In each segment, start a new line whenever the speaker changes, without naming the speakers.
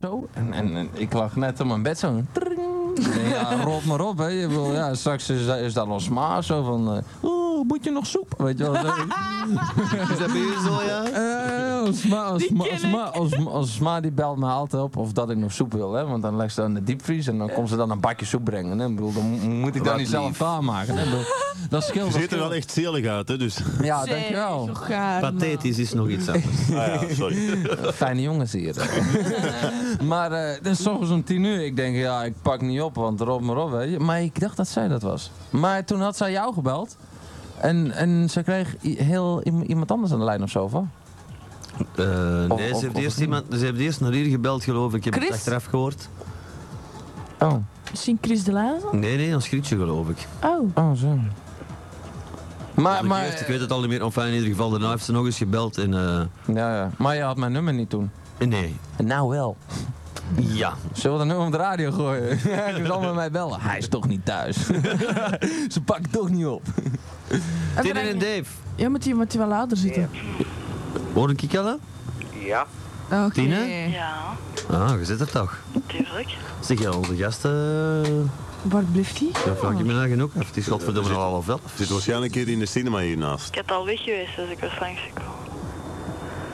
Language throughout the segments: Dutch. Zo. En, en, en ik lag net op mijn bed zo. Tring. Nee, ja, rot maar op, hè. Je wil, ja, straks is, dat- is dat los maar zo van... eh, Oeh, moet je nog soep? Weet je wel, zo.
Is dat bij u zo, ja?
Eh, als ma, als ma, als ma, als ma- als ma die belt me altijd op of dat ik nog soep wil, hè. Want dan legt ze dat in de diepvries en dan komt ze dan een bakje soep brengen. Hè. Ik bedoel, dan mo- moet ik dat
Wat
niet zelf
lief.
klaarmaken. Hè. Ik bedoel, Dat scheelt.
Je
dat
ziet er wel
scheelt.
echt zielig uit, hè? Dus.
Ja,
Zeg,
Ah, dankjewel.
zo gaar, man.
Pathetisch is nog iets anders.
Ah ja, sorry.
Fijne jongens hier. maar eh dus 's ochtends om tien uur, ik denk, ja, ik pak niet op, want rob maar op, weet je. Maar ik dacht dat zij dat was. Maar toen had zij jou gebeld. En, en ze kreeg i- heel i- iemand anders aan de lijn of zo, van.
Eh,
Of-
nee,
of-
ze heeft,
of
eerst
niet?
iemand, ze heeft eerst naar hier gebeld, geloof ik. Ik heb het
Chris?
achteraf gehoord.
Oh,
Misschien Chris de Lazen?
Nee, nee, ons grietje, geloof ik.
Oh.
oh, zo. Maar,
Maar,
maar,
ik weet het al niet meer. Enfin, in ieder geval, daarna heeft ze nog eens gebeld. En, eh,
ja, ja. maar je had mijn nummer niet toen.
nee.
En nou wel.
Ja.
Ze wilde nu op de radio gooien. Hij zal met mij bellen. Hij is toch niet thuis. ze pakt toch niet op.
Tim en Dave.
Ja, moet die, moet die wel ouder zitten.
Hoor ik al? hè?
Ja,
Oké.
Tine?
Ja,
Ah, je zit er toch.
tuurlijk.
Zeg, ja, onze gasten... eh,
Waar blijft die?
Daar vraag ik me eigenlijk ook af. Het is godverdomme al half elf.
Zit waarschijnlijk hier in de cinema hiernaast.
Ik had al weg geweest als ik was langsgekomen.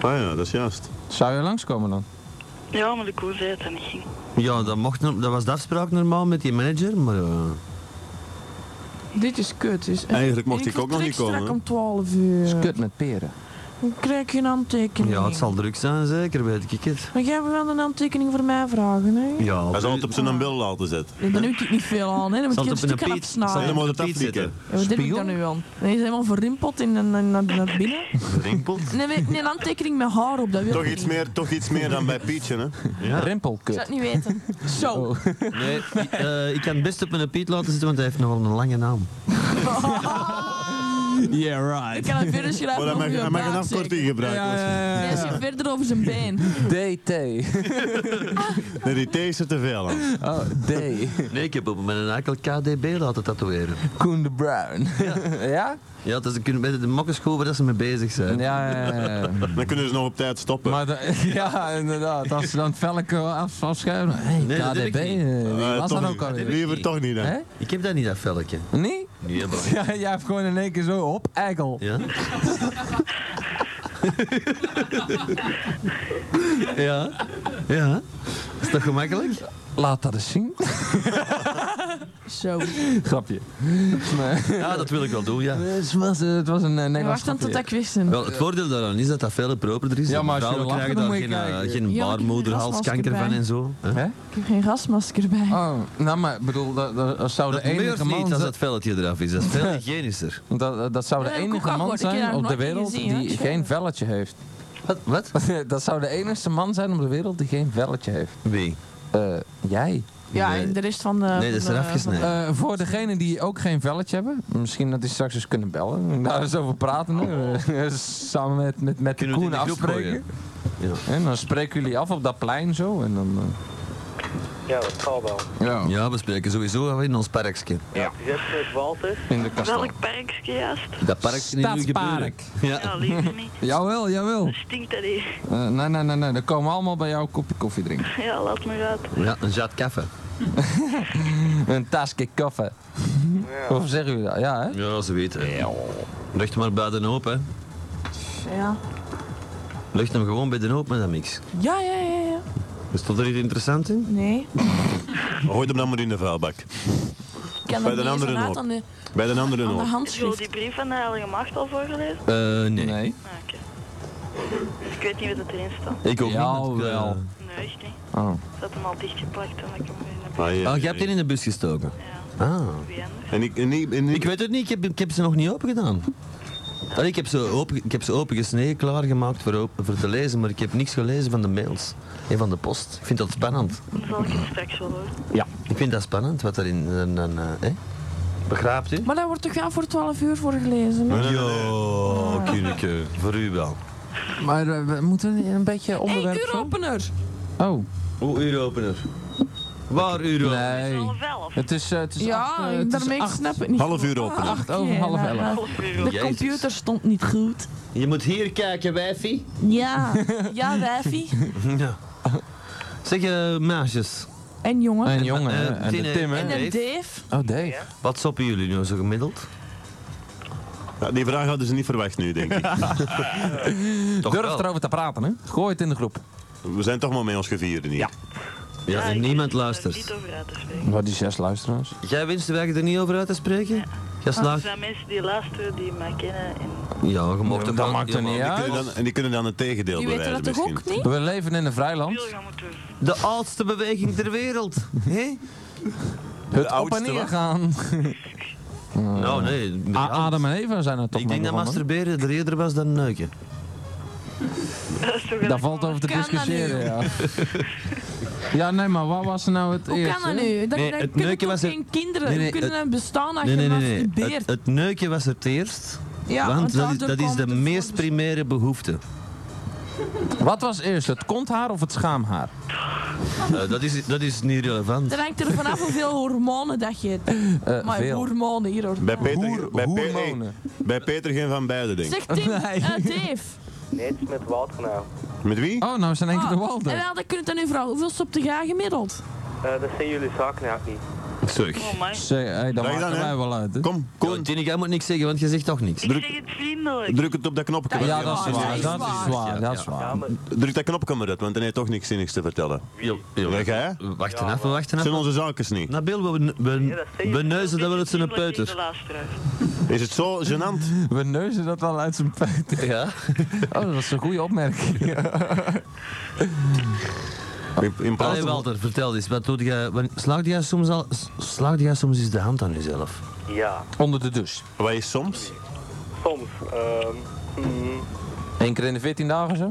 Ah ja, dat is juist.
Zou je langskomen dan?
Ja, maar de koe zei het en ik ging.
Ja, dat, mocht, no- dat was de afspraak normaal met die manager, maar... eh,
Dit is kut. Dus.
Eigenlijk mocht ik ook nog
vertrek
niet komen,
strak
hè?
om 12
Het is
uur.
kut met peren.
Ik krijg geen aantekening.
ja, het zal druk zijn, zeker, weet ik het.
Maar jij wil wel een aantekening voor mij vragen, hè?
Ja,
Hij zal het
op
op zijn bil laten zetten.
Ja, dan doet ik niet veel aan, hè? Dan moet
zal
je
het
een
op een
stuk gaan
piet, zal
afsnijden.
Dan
het op
moet het
een piet
aflikken.
zitten.
Ja, wat doe ik dan nu aan? Nee, is helemaal verrimpeld in, in, in, naar- naar binnen.
Rimpelt?
Nee, nee, nee, een aantekening met haar op, dat wil
Toch
ik
iets
niet.
meer, toch iets meer dan bij Pietje, hè?
Ja.
Ik
Rimpelkut.
zou het niet weten. Zo.
Nee, i- eh, ik kan het best op mijn Piet laten zitten, want hij heeft nogal een lange naam.
Yeah,
Ik
right.
kan het verder schrijven
Maar hij
over
mag,
je
hij mag een
baard,
afkorting
zeker.
gebruiken. waarschijnlijk.
Nee, hij zit verder over zijn been.
DT.
Nee, die thee is er te veel aan.
Oh, D.
Nee, ik heb op mijn eikel KDB laten tatoeëren.
Koen de Bruin. Ja?
Ja, dus ze kunnen beter de mokken schoven dat ze mee bezig zijn.
Ja, ja, ja. ja.
Dan kunnen ze nog op tijd stoppen.
Maar da- ja, inderdaad. Als ze dan het velken af, afschuiven. Hey,
Nee, dat
KDB.
heb ik niet.
eh, die
Eh,
was
toch
dat
niet.
ook alweer.
Liever toch niet, hè?
Hè?
Ik heb dat niet, dat velletje.
Niet?
Nee, maar...
Ja, jij hebt gewoon in één keer zo op, eikel.
Ja? ja? Ja? Is dat gemakkelijk?
Laat dat eens zien.
Zo.
Grapje. Maar,
Ja, dat wil ik wel doen, ja.
het, was, eh, het was een eh, Nederlands
Wacht dan tot
grapje.
dat ik wist. hem.
Wel, het voordeel daaraan is dat dat veel properder is.
Ja, maar als je
Vrouwen
wil lachen, dan
krijgen daar
moet je
geen, eh,
kijken.
geen
Ja, maar ik heb
baarmoederhalskanker
een
van en zo. hè?
Hè?
Ik heb geen gasmasker bij.
Oh, nou maar, ik bedoel, dat, dat, dat zou
Dat
de enige
meurt
man
niet
zijn...
als dat velletje eraf is. Dat is veel hygiënischer.
Dat, dat zou de
Ja, ik ook
enige
wel
man
gehoord. Eh, Ik heb
zijn
daar
op de
nooit in
wereld
gezien, hoor.
die geen velletje heeft.
Wat? Wat?
dat zou de enige man zijn op de wereld die geen velletje heeft.
Wie?
Eh, jij?
Ja,
Nee.
en de rest van de...
Nee, dat is
van de-
eraf gesneden.
Eh, voor degenen die ook geen velletje hebben, misschien dat die straks eens kunnen bellen. Daar eens over praten. hè. Eh, samen met, met, met
Oh. Kunnen we het
Koen
in de groep
afspreken.
gooien?
En dan spreken jullie af op dat plein zo. En dan,
ja dat zal wel.
eh, ja.
Ja, we spreken sowieso wel in ons parkje.
Ja. Je hebt het Walter.
in de kastel.
Welk parkje juist?
Dat parkje in uw gebeuren.
Stadspark.
Ja.
Ja, liever niet.
Jawel, jawel.
Stinkt dat hier.
Eh, nee, nee, nee, nee. Dan komen we allemaal bij jou een kopje koffie drinken.
Ja, laat me uit.
ja, een jat kaffe.
Een tasje koffie. Of zeggen jullie dat? Ja, hè?
Ja, ze weten. Leg hem maar bij de hoop, hè.
Ja.
Leg hem gewoon bij de hoop met dat mix.
Ja, ja, ja, ja.
Is dat er iets interessants in?
Nee.
Gooi hem dan maar in de vuilbak.
Ik kan
Bij
er
de
niet eens
anderen
vanuit
ook.
aan de,
Bij de andere
aan de
nog.
Heb je al die
handschrift.
brief van de Heilige Macht al voorgelezen?
Eh, nee.
Nee.
Ah, Oké. Ik weet niet wat het erin staat.
Ik ook niet. want eh, ik, eh,
Jawel.
Nee, echt niet.
Oh.
Ik had hem al dichtgeplakt en ik hem in de brief.
Ah, ja,
Oh, je hebt die in de bus gestoken? Ah.
Wie anders?
En ik, en ik, en
Ik weet het niet, ik heb, ik heb ze nog niet open gedaan. Allee, ik, heb ze open, ik heb ze open gesneden, klaargemaakt voor, op- voor te lezen, maar ik heb niks gelezen van de mails en van de post. Ik vind dat spannend.
Dan zal ik het straks wel horen.
Ik vind dat spannend wat erin. Dan, dan, eh, hè? Begraapt u?
Maar daar wordt toch wel voor 12 uur voor gelezen? hè?
Jo, kunneke, voor u wel.
Maar eh, we moeten we een beetje
Hey,
onderwerp... zo-
uuropener!
Oh.
Hoe uuropener? Waar uuropener?
Nee.
Half elf.
Het is, eh, het is acht, eh,
Ja,
het is
daarmee
acht,
snap ik niet.
Half uur openen.
Ah,
acht over
oké,
half
nou,
elf.
nou.
Half uur.
De
Jezus.
computer stond niet goed.
Je moet hier kijken, wijfie.
Ja, ja, wijfie.
Ja. Zeg je meisjes.
En jongen.
En jongen,
eh,
hè, en de
Tine-
Tim, hè?
En
Dave.
een div.
Oh, Dave.
Ja.
Wat soppen jullie nu zo gemiddeld?
Ja, die vraag hadden ze niet verwacht nu, denk ik.
Toch
Durf erover te praten, hè? Gooi het in de groep.
We zijn toch maar met ons gevieren hier.
Ja. Ja, en
Ah, ik
niemand
durf er
luistert.
niet over dus uit te spreken.
Wat die zes luisteraars.
Jij wenst de weg er niet over uit te spreken? Jij
Er
slaagt...
zijn mensen die luisteren, die mij kennen en
Ja, je mag
Ja,
toch
dat
wel-
maakt er
ja,
niet
maar-
uit.
En dan- en die kunnen dan het tegendeel
Die weten
bewijzen
dat toch
dus misschien.
ook niet?
We leven in een
veel
vrijland.
gaan moeten
De oudste beweging ter wereld. Hé?
Het op
oudste,
en neer
wat?
gaan.
Nou, nee.
A-
briljant.
Adam en Eva zijn er toch
Ik denk
mee
dat
begonnen.
masturberen er eerder was dan neuken.
doen.
Daar valt over te
Kan dat
discussiëren, ja. Ja, nee, maar wat was nou het
Hoe
eerste?
kan dat nu? Dat,
Nee,
dat
het
kunnen
neuken
toch
was er-
geen kinderen
Nee, nee,
kunnen
het-
een bestaan als
Nee, nee,
je
nee. nee.
masturbeert.
Het, het neuken was het eerst.
ja,
want dat is,
daardoor
dat is
komt
de
het
meest
voor-
primaire behoefte.
Wat was eerst, het konthaar of het schaamhaar?
Eh, dat, is, dat is niet relevant.
Dat hangt er vanaf hoeveel hormonen dat je hebt.
Eh,
Maar
veel.
hormonen hier hoor.
Bij Peter,
Hoer-
bij, Pe-
hoermonen.
hey, bij Peter geen van beide, denk ik.
Zeg Tim,
Nee.
eh, Dave.
Niets met Wouter nou.
Met wie?
Oh, nou zijn één keer de
Ah, en
Walden.
wel, dat kun je dan nu vragen. Hoeveel stopte jij gemiddeld?
Eh, dat zijn jullie zaken nou niet.
Zeg.
Oh my.
Zeg, hey, dat
Zeg
maken
dan, hè.
wij wel uit, hè?
Kom,
Koen,
Koen.
Tine, jij moet niks zeggen, want je zegt toch niks.
Ik zeg het vriendelijk.
Druk het op dat knopje.
Ja, dat is
Ja,
waar, dat is waar, dat is
Ja,
waar.
maar
Druk dat knopje maar uit, want hij heeft toch niks zinnigs te vertellen.
Jo, jo.
Leg hè?
Wacht even, wacht
Zijn
even.
onze zakens niet.
Nabil, we,
ja,
we,
dat zijn
we
jullie
neuzen
wel
dat we het zijn
beetje vriendelijk
peuter.
tegen de luisteraar.
Is het zo gênant?
We neuzen dat wel uit zijn pijt.
Ja?
Oh, dat is een goede opmerking.
In, in plaats
Allee,
van...
Walter, vertel eens. Wat doet jij, wan- slaagt jij soms al, s- slaagt jij soms eens de hand aan jezelf?
ja,
Onder de douche.
Wat is soms?
soms. ehm mm,
Eén keer in de 14 dagen zo?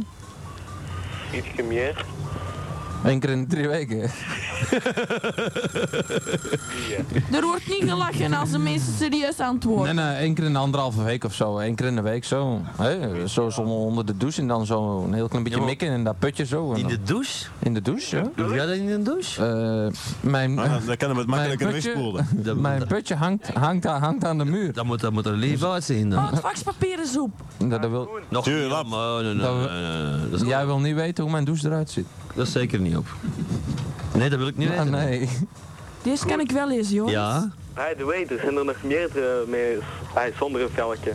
ietsje meer.
Eén keer in de drie weken.
Er wordt niet gelachen als de mensen serieus
Nee,
antwoorden.
nee, één keer in de anderhalve week of zo. Eén keer in de week zo. Hé, zo zonder onder de douche en dan zo een heel klein beetje
Ja, maar-
mikken en dat putje zo. En
In de
dan-
douche?
in de douche, ja.
Doe jij dat in de douche?
Eh, mijn,
Ah, dan kan hem het makkelijker
putje-
wegspoelen. Nou,
Dat,
mijn
dat,
putje hangt, hangt, aan- hangt aan de muur.
dat moet, dat moet er lief uitzien
Oh,
Ah.
dan.
het vakpapier is op.
Dat, dat wil,
Nog
Tuurlijk.
niet, maar nee, nee,
Dat we-
nee, nee, nee. Dat, is,
jij wil niet weten hoe mijn douche eruit ziet.
dat is zeker niet op. Nee, dat wil ik niet Nou,
Ah,
weten.
nee.
Deze kan ik wel eens, joh.
Ja?
By the way, er zijn er nog meerdere mee, ah, zonder een velletje.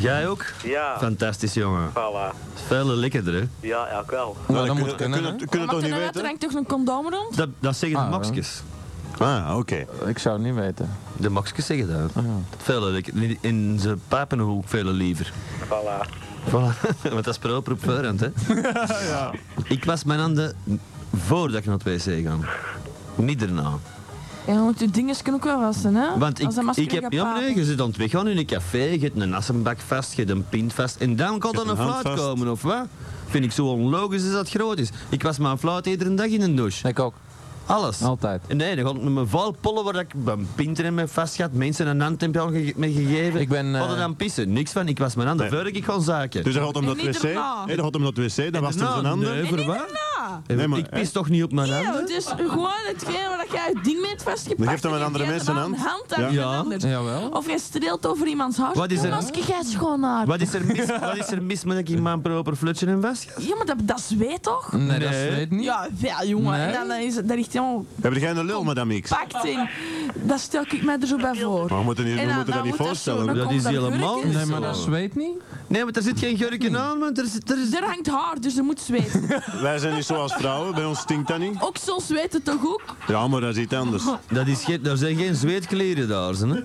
Jij ook?
Ja,
Fantastisch, jongen.
voilà.
Veel lekkerder, hè?
Ja, elk wel.
Nou, dat
kun-
moet
kun-
kunnen.
kun- kun je
Maar
toch
ten
niet
eruit
weten?
nou hangt toch een condoom rond?
Dat, dat zeggen
Ah,
de
ja.
maxjes.
Ah, oké.
hè? Ik zou het niet weten.
De maxjes zeggen dat.
Ah,
Veel lekkerder. In zijn papenhoek veel liever.
Voilà.
Voilà, want dat is per oproep voorhand, hè? Ik was mijn handen voordat ik naar het wc ging. Niet erna.
Ja, want je dingen kunnen ook wel wassen, hè?
Want ik,
Als dat masker
ik heb...
gaat
Ja, nee,
papen.
je zit aan het weggaan in een café, je hebt een assenbak vast, je hebt een pint vast. En dan kan
Je
dan
hebt
een
een hand
fluit
vast.
komen, of wat? Vind ik zo onlogisch als dat groot is. Ik was mijn fluit iedere dag in een douche.
Ik ook.
Alles.
Altijd.
En Nee, dan had ik mijn valpollen waar ik mijn pinten en mijn vast had, mensen een handtempje al ge- mee gegeven.
Ik ben, eh,
Hadden dan pissen. Niks van, ik was mijn handen
Nee.
voordat ik kon zaken.
Dus hij had hem
En
dat
niet
wc.
erna.
Nee, hij had hem dat wc, dan was hij zijn handen.
Nee, voor wat?
Nee, maar-
Eh, ik pis toch niet op mijn
Ja,
handen?
het is gewoon hetgeen waar jij het ding mee hebt vastgepakt.
Dan geeft hem
en
aan
je
andere
geeft
mensen
hem
een
aan
hand.
hand aan
Ja.
Ja.
iemand anders.
Jawel.
Of jij streelt over iemands haar.
Wat is er-
Als jij schoon haar.
Wat is er mis, wat is er mis met dat ik in mijn proper flutje en vast?
Ja, maar dat, dat zweet toch?
Mm.
Nee, dat weet niet.
Ja, ja, jongen.
Nee.
En dan, dan is het, dat ligt helemaal
Heb jij een lul, madame X?
pakt in. Dat stel ik mij er zo bij voor.
Maar we moeten, niet,
En
we
dan-
moeten
dan
dat niet
moet dat zo,
voorstellen.
dan
Dat
komt
is
dat
helemaal
gurkje.
niet
Nee, maar
zo.
dat zweet niet.
Nee, maar daar zit geen gurken aan, want er zit... Er is...
Er hangt haar, dus er moet zweten.
Wij zijn niet zoals vrouwen, bij ons stinkt dat niet.
Oksels weten toch ook?
Ja, maar dat is iets anders.
Dat is geen, daar zijn geen zweetklieren daar, ze, hè?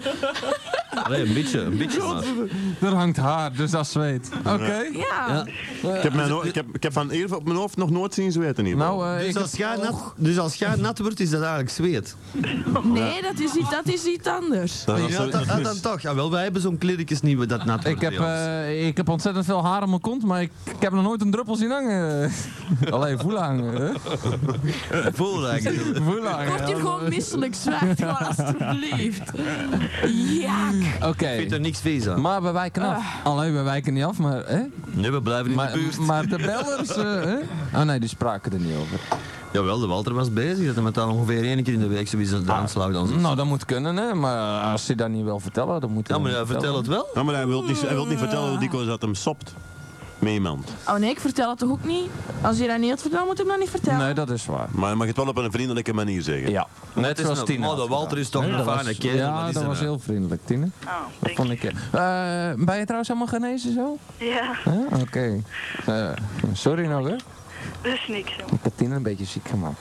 Allee, een beetje, een beetje maar.
Er hangt haar, dus dat zweet. Oké.
Ja.
Ja.
Ik heb, mijn, ho- ik heb, ik heb van hier op mijn hoofd nog nooit zien zweten hier.
Nou, eh, ik
Dus als, jij nat, dus als jij nat wordt, is dat eigenlijk zweet.
Nee, dat is, iets, dat is iets anders.
Dat
Ja,
was-
dat, dat dan toch. Ja, wel, wij hebben zo'n kleertjes niet waar dat nat wordt.
Ik heb,
bij ons.
eh, ik heb ontzettend veel haar op mijn kont, maar ik, ik heb nog nooit een druppel zien hangen. Alleen voelen hangen. hè?
Voel eigenlijk.
Voelen
Ik word
hangen.
hier gewoon misselijk, zwijg gewoon alsjeblieft. Jaak.
Oké.
Ik vind er niks vies aan.
Maar we wijken af. Alleen we wijken niet af, maar. Hè?
Nee, we blijven in
Maar,
de buurt. Oh,
maar de bellers. eh, hè? Ah nee, die spraken er niet over.
Jawel, de Walter was bezig. Dat hij met dan ongeveer één keer in de week sowieso de aanslag dan
Nou, dat moet kunnen, hè? Maar als ze dat niet wil vertellen, dan moet hij
Ja, maar
dat
ja,
niet
vertel het wel.
Ja, maar hij wil niet, hij wil niet vertellen hoe dikwijls dat hem sopt. met iemand.
Oh nee, ik vertel het toch ook niet? Als je dat niet had verteld, moet je hem dat niet vertellen.
Nee, dat is waar.
Maar je mag het wel op een vriendelijke manier zeggen.
Ja. Net
is
zoals
een-
Tine.
oh, dat Walter is toch
Nee,
een
dat
fijne
was-
kerel, maar
Ja,
die
dat
zijn,
was
eh,
heel vriendelijk, Tine.
Oh,
Dat
denk
vond
ik.
ik. eh, ben je trouwens helemaal genezen zo?
Ja,
Huh? Oké. Eh, sorry nog, hè?
dus niks, jongen.
Ik heb Tine een beetje ziek gemaakt.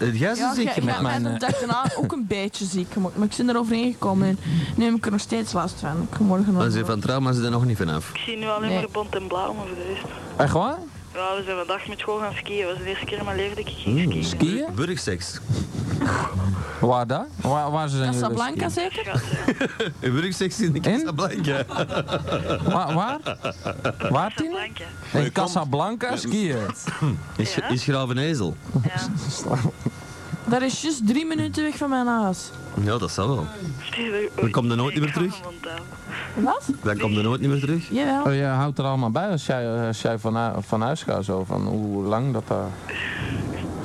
Eh, Jij is
Ja,
een ziek
ik ik
gemaakt.
heb
Mijn, eh,
mij de dag daarna ook een beetje ziek gemaakt, maar ik ben eroverheen gekomen en nu heb ik er nog steeds last van. Ik ga morgen nog...
Maar ze van trauma zit er nog niet vanaf.
Ik zie nu alleen
Nee.
maar bont en blauw, maar voor de rest...
Echt waar?
Ja, we zijn vandaag met school gaan skiën. Dat was de eerste keer in mijn leven dat ik ging skiën.
Skiën?
Burgseks.
Waar daar? Waar, waar ze zijn jullie dus?
Casablanca
skiën?
zeker?
Burgseks in de Casablanca.
Waar? Waar, waar Tine?
Casablanca.
In Casablanca skiën.
Is,
Ja.
is Gravenezel.
Ja,
Dat is juist drie minuten weg van mijn huis.
Ja, dat zal wel.
Dan
komt er nooit meer terug.
eh,
Wat?
Dan komt er nooit niet meer terug.
Jawel.
Oh, je houdt er allemaal bij als jij, als jij van, hu- van huis gaat, zo, van hoe lang dat daar...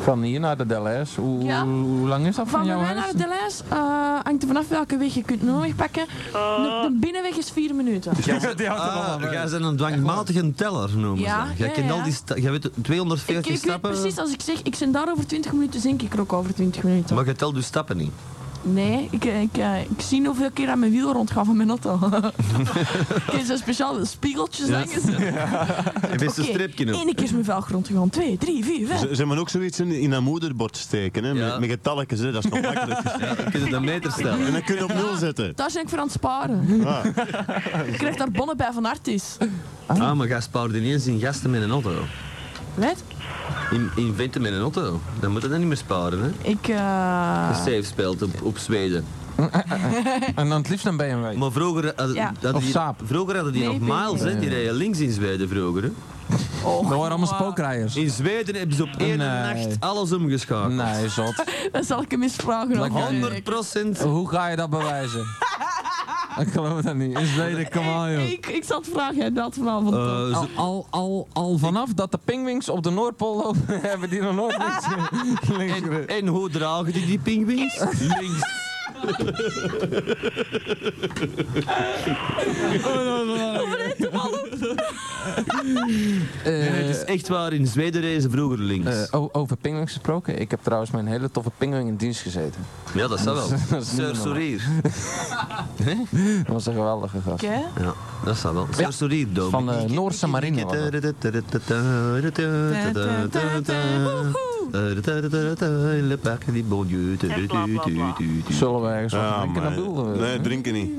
Van hier naar de DLS, hoe,
Ja.
hoe lang is dat van,
Van bij
jouw
mij
huis?
naar de lijst eh, hangt er vanaf welke weg je kunt een omweg pakken. De, de binnenweg is vier minuten.
Nou, eh,
Ah, jij bent een dwangmatige teller, noemen
Ja,
ze. Jij
ja,
kent al
ja.
die sta- jij weet
Ik,
240
ik weet
stappen,
precies, als ik zeg, ik ben daar over 20 minuten, zink ik er ook over 20 minuten.
maar je telt je stappen niet.
Nee, ik, ik, eh, ik zie hoeveel keer aan mijn wiel rondgaan van mijn auto. Kun je zo speciaal spiegeltjes hangen?
Je wist een
Oké,
stripje op.
Eén keer is mijn velg rondgegaan. Twee, drie, vier, vijf.
Ze, ze moeten ook zoiets in, in een moederbord steken, hè?
Ja.
Met, met getalletjes, hè? dat is nog makkelijk.
Je kunt het een meter
En
stellen.
dan kun je op nul zetten.
Daar ben ik voor aan het sparen. ik krijg daar bonnen bij van Artis.
Ah, maar jij spaart ineens in gasten met een auto.
Weet?
In, in venten met een auto. Dan moet je dat niet meer sparen, hè.
Ik, eh,
Als je safe speelt op, op Zweden.
En dan het liefst een BMW.
Maar vroeger hadden,
Ja.
hadden
Of
die,
Saab.
vroeger hadden die
Nee,
nog
ik weet
miles, hè.
niet.
Die reden links in Zweden vroeger, hè.
oh,
Er waren allemaal
wow.
spookrijders.
In Zweden hebben ze op één
Nee.
nacht alles omgeschakeld.
Nee, zot.
Dan zal ik hem eens vragen.
Lekker.
of-
100 procent.
Hoe ga je dat bewijzen? ik geloof dat niet. In Zweden, come on,
Ik,
joh.
ik, ik zal het vragen, hè, dat eh, vanavond.
Eh,
toch.
Al, Dus al, al, al vanaf dat de pingwings op de Noordpool lopen, hebben die nog nooit iets links gereden.
en hoe dragen die die pinguïns? Links.
Eh,
Het is echt waar, in Zweden reizen vroeger links.
eh, o- over pingwings gesproken, ik heb trouwens mijn hele toffe pingwing in dienst gezeten.
ja, dat zal wel.
dat is niet
Sir
normaal.
Sorir.
Dat was een geweldige gast.
Oké.
Ja, dat zal wel. Sir Sorir, dood.
Van eh, de Noorse marine. was dat.
Le parc des bons dieux.
Zullen we ergens wat drinken? eh. Dan bedoelen we.
Ah, nee, drinken niet.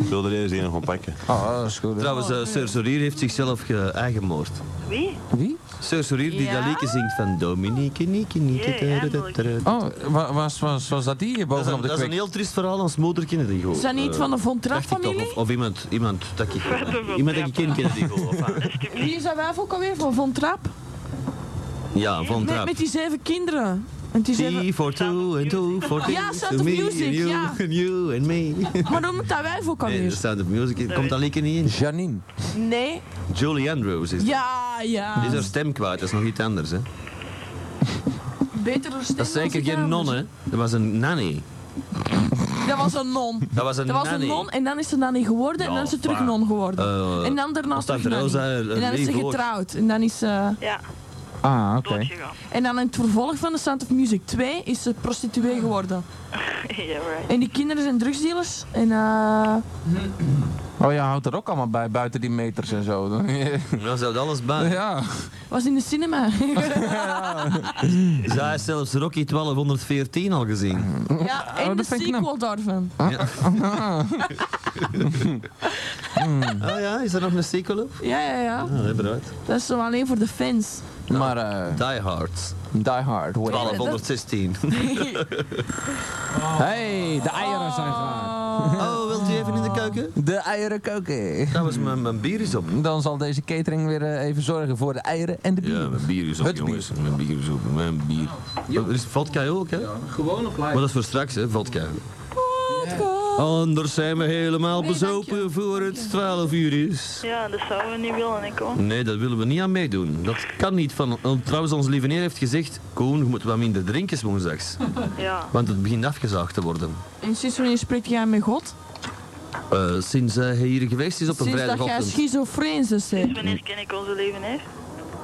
Ik wil er deze een gewoon pakken.
Oh, dat is goed. hè.
Trouwens, eh, Sir Sorir heeft zichzelf geëigenmoord.
Wie?
Wie?
Sir Sorir die dat
Ja?
liedje zingt van Dominique, Nieke, Nieke.
Jee,
da, da, da, da, da.
Oh, wa- was, was, was dat die hier
Dat is, een,
bovenop de
dat is een
kwik?
heel triest verhaal, ons moeder kende die gewoon.
Is dat niet
eh,
van de Von
dacht ik toch,
Trapp-familie?
Of, of iemand, iemand dat ik
Van
iemand dat ik ken
Trapp.
kende die gewoon. of aan.
Wie is dat wijf ook alweer van Von Trapp?
Ja, Von
Met,
Trapp.
met die zeven kinderen. Met die zeven...
T for two and two for two.
Ja, Sound
to
of
me
Music,
and you
ja.
and you and me.
Maar dan moet dat wijf ook
Nee, de
alweer.
Sound of Music het komt dat lekker niet in.
Janine.
Nee.
Julie Andrews is
Ja,
Die
ja.
is haar stem kwijt, dat is nog iets anders. Hè.
Betere stem
Dat is
dan
zeker geen
Zigeuner.
non, hè. Dat was een nanny.
dus Dat was een non.
Dat was een
Dat was
nanny.
een non en dan is ze nanny geworden en
Ja,
dan is ze terug
waar.
non geworden.
Eh,
en dan daarna
Constance
terug nanny.
Rosa, eh,
En dan is ze
lief woord.
getrouwd. En dan is ze...
Ja,
Ah, oké.
doodgegaan.
En dan in het vervolg van de Sound of Music 2 is ze prostituee geworden.
ja, right.
En die kinderen zijn drugsdealers. En eh...
Oh, jij houdt er ook allemaal bij, buiten die meters en zo.
Daar zat alles bij.
ja.
was in de cinema.
Zij heeft zelfs Rocky 1214 al gezien.
ja, en
dat
de
vind ik
sequel daarvan.
Ah. Oh ja, is er nog een sequel op? Ah,
Ja, ja, ja.
Ja, bereid.
Dat is zo alleen voor de fans.
Maar eh
Die Hard.
Die Hard. hoor.
1216.
Hey, de eieren zijn
Ah.
gaar.
Oh, wilt u even in de keuken?
De eieren koken.
Trouwens, mijn, mijn bier is op.
Dan zal deze catering weer eh, even zorgen voor de eieren en de bier.
Ja, mijn bier is op,
Het bier.
jongens. Mijn bier is op. Mijn bier. Oh, Er is vodka ook, hè?
Gewoon op
Maar dat is voor straks, hè, vodka. Anders zijn we helemaal
Nee,
bezopen voor het 12 uur is.
Ja, dat zouden we niet willen, ik hoor.
Nee, dat willen we niet aan meedoen. Dat kan niet van... oh, Trouwens, onze lieve neer heeft gezegd... Koen, je moet wat minder drinken woensdags.
Ja.
Want het begint afgezaagd te worden.
En sinds wanneer spreekt jij met God?
Eh, sinds eh, hij hier geweest is op een
Sinds dat jij
vrijdagochtend.
schizofreen bent.
Sinds
hè.
Dus wanneer ken ik onze leven, hè?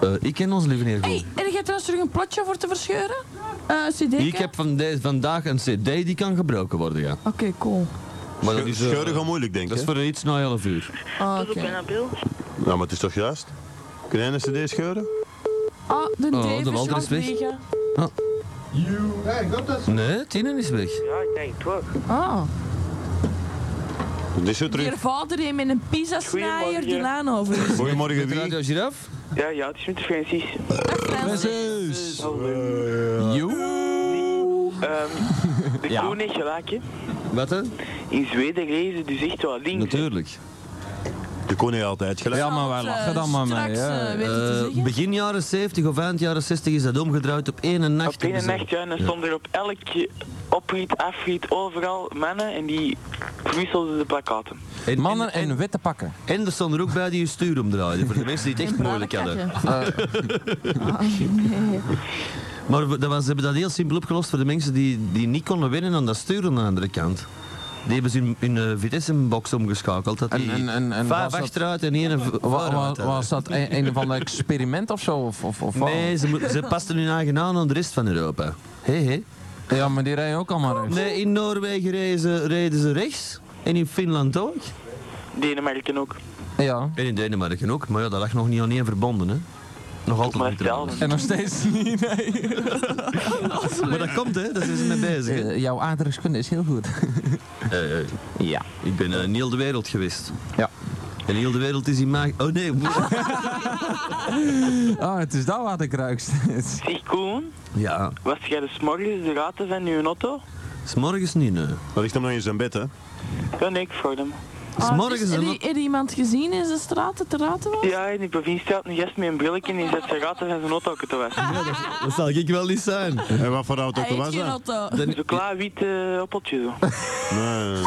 Eh, ik ken ons lieve neer.
Hé, hey, en je hebt trouwens terug een plotje voor te verscheuren? Eh, CD?
Ik heb van deze- vandaag een cd die kan gebroken worden, ja.
Oké, cool.
Maar dat is, eh,
Scheuren gaat moeilijk, denk ik.
dat is
hè?
voor een iets na half uur.
Ah,
Dat is
Oké.
op mijn abil.
Nou, maar het is toch juist? Kun jij een cd scheuren?
Ah, de
Oh,
Dave
de
is
Walter is weg.
halfwege.
Nee, Tine is weg.
Ja, ik denk het wel.
Ah,
Dat is zo
je
terug.
vader heeft met een pizza-snaaier
Goedemorgen.
de laan over. is.
Goedemorgen,
Met Radio
wie?
Giraf?
Ja, ja, het is met Francis.
Precies.
Hallo. Oh, Ehm, de
Ja.
kroon heeft gelijk, hè.
Wat hè?
In Zweden reizen dus echt wel links. hè.
Natuurlijk.
De kon je altijd gelijk.
Ja, maar wij lachen dan maar mee.
Straks, eh,
Ja.
weet je te
Eh,
zeggen.
begin jaren 70 of eind jaren 60 is dat omgedraaid op één nacht.
Op één
hebben ze-
nacht, ja, en dan stonden er op elk opriet, afriet, overal mannen en die verwisselden de plakaten.
En,
Mannen
en,
in witte pakken.
en, en er stonden er ook bij die je stuur omdraaiden. Voor de mensen die het echt moeilijk hadden.
Ah,
Maar we, dat was, ze hebben dat heel simpel opgelost voor de mensen die, die niet konden winnen aan dat stuur aan de andere kant. Die hebben ze hun, hun eh, Vitesse-box omgeschakeld. Dat
En-
die
en- en- en was
vijf
dat-
achteruit en één v-
Wa- wa-
vooruit
was dat een, een of ander experiment of zo? Of, of, of wat?
hadden. Nee, ze, mo- ze pasten hun eigen aan aan de rest van Europa. Hé, hé.
Ja, maar die rijden ook allemaal rechts.
Nee, in Noorwegen reden ze, reden ze rechts. En in Finland ook.
Denemarken ook.
Ja.
En in Denemarken ook. Maar ja, dat lag nog niet aan één verbonden, hè. Nog altijd
Maar
niet
hetzelfde.
trouwens.
En nog steeds niet. Nee.
Maar dat komt, hè. Daar zijn ze mee bezig. hè.
Eh, jouw aardrijkskunde is heel goed.
Eh, eh,
Ja.
ik ben eh, in heel de wereld geweest.
Ja.
En heel de wereld is in maag... Oh, nee.
Oh, het is daar wat ik ruikst.
Zeg Koen,
Ja.
was jij de smorgens de raten van uw auto?
S'morgens niet, nee.
Dat ligt hem nog in zijn bed, hè?
Ja, nee, ik voor hem.
Ah,
morgens
dus,
dan
er-
ook-
er iemand gezien in de straten te raten was?
Ja, in die provincie staat een gast met een brilletje en die zet zijn raten van zijn auto te wassen.
Dat zal ik wel niet zijn.
En wat voor auto
Hij heeft
was
geen
dat?
auto.
Zo klaar wit eh, appeltje zo.
Nee.
Nee.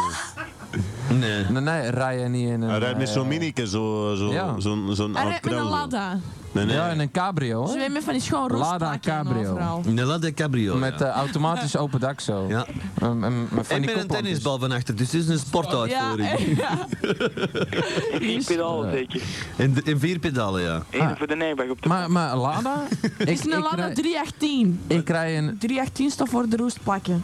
Nee, nee, rij je niet in een...
Hij rijdt met
eh,
zo'n minieke, zo'n zo,
Ja.
zo'n zo'n
Hij
oud
rijdt met een
krauw.
Lada.
Nee, nee.
Ja, in een cabrio.
Ze
hè?
rijden met van die schoon
Lada
roostpakken
Cabrio.
overal.
Nella de Cabrio.
Met
ja.
eh, automatisch open dak zo.
Ja.
En, en, van
En
die
met een
koplampjes.
tennisbal van achter, dus het is een
Ja,
sportuitvoering.
ja.
Ik ben al zeker.
En, de- en vier pedalen, ja.
Eén voor de Nijberg op de
Maar, maar Lada? ik,
Is een
ik
Lada
rij-
318.
Ik rij een,
318 staat voor de roestplakken.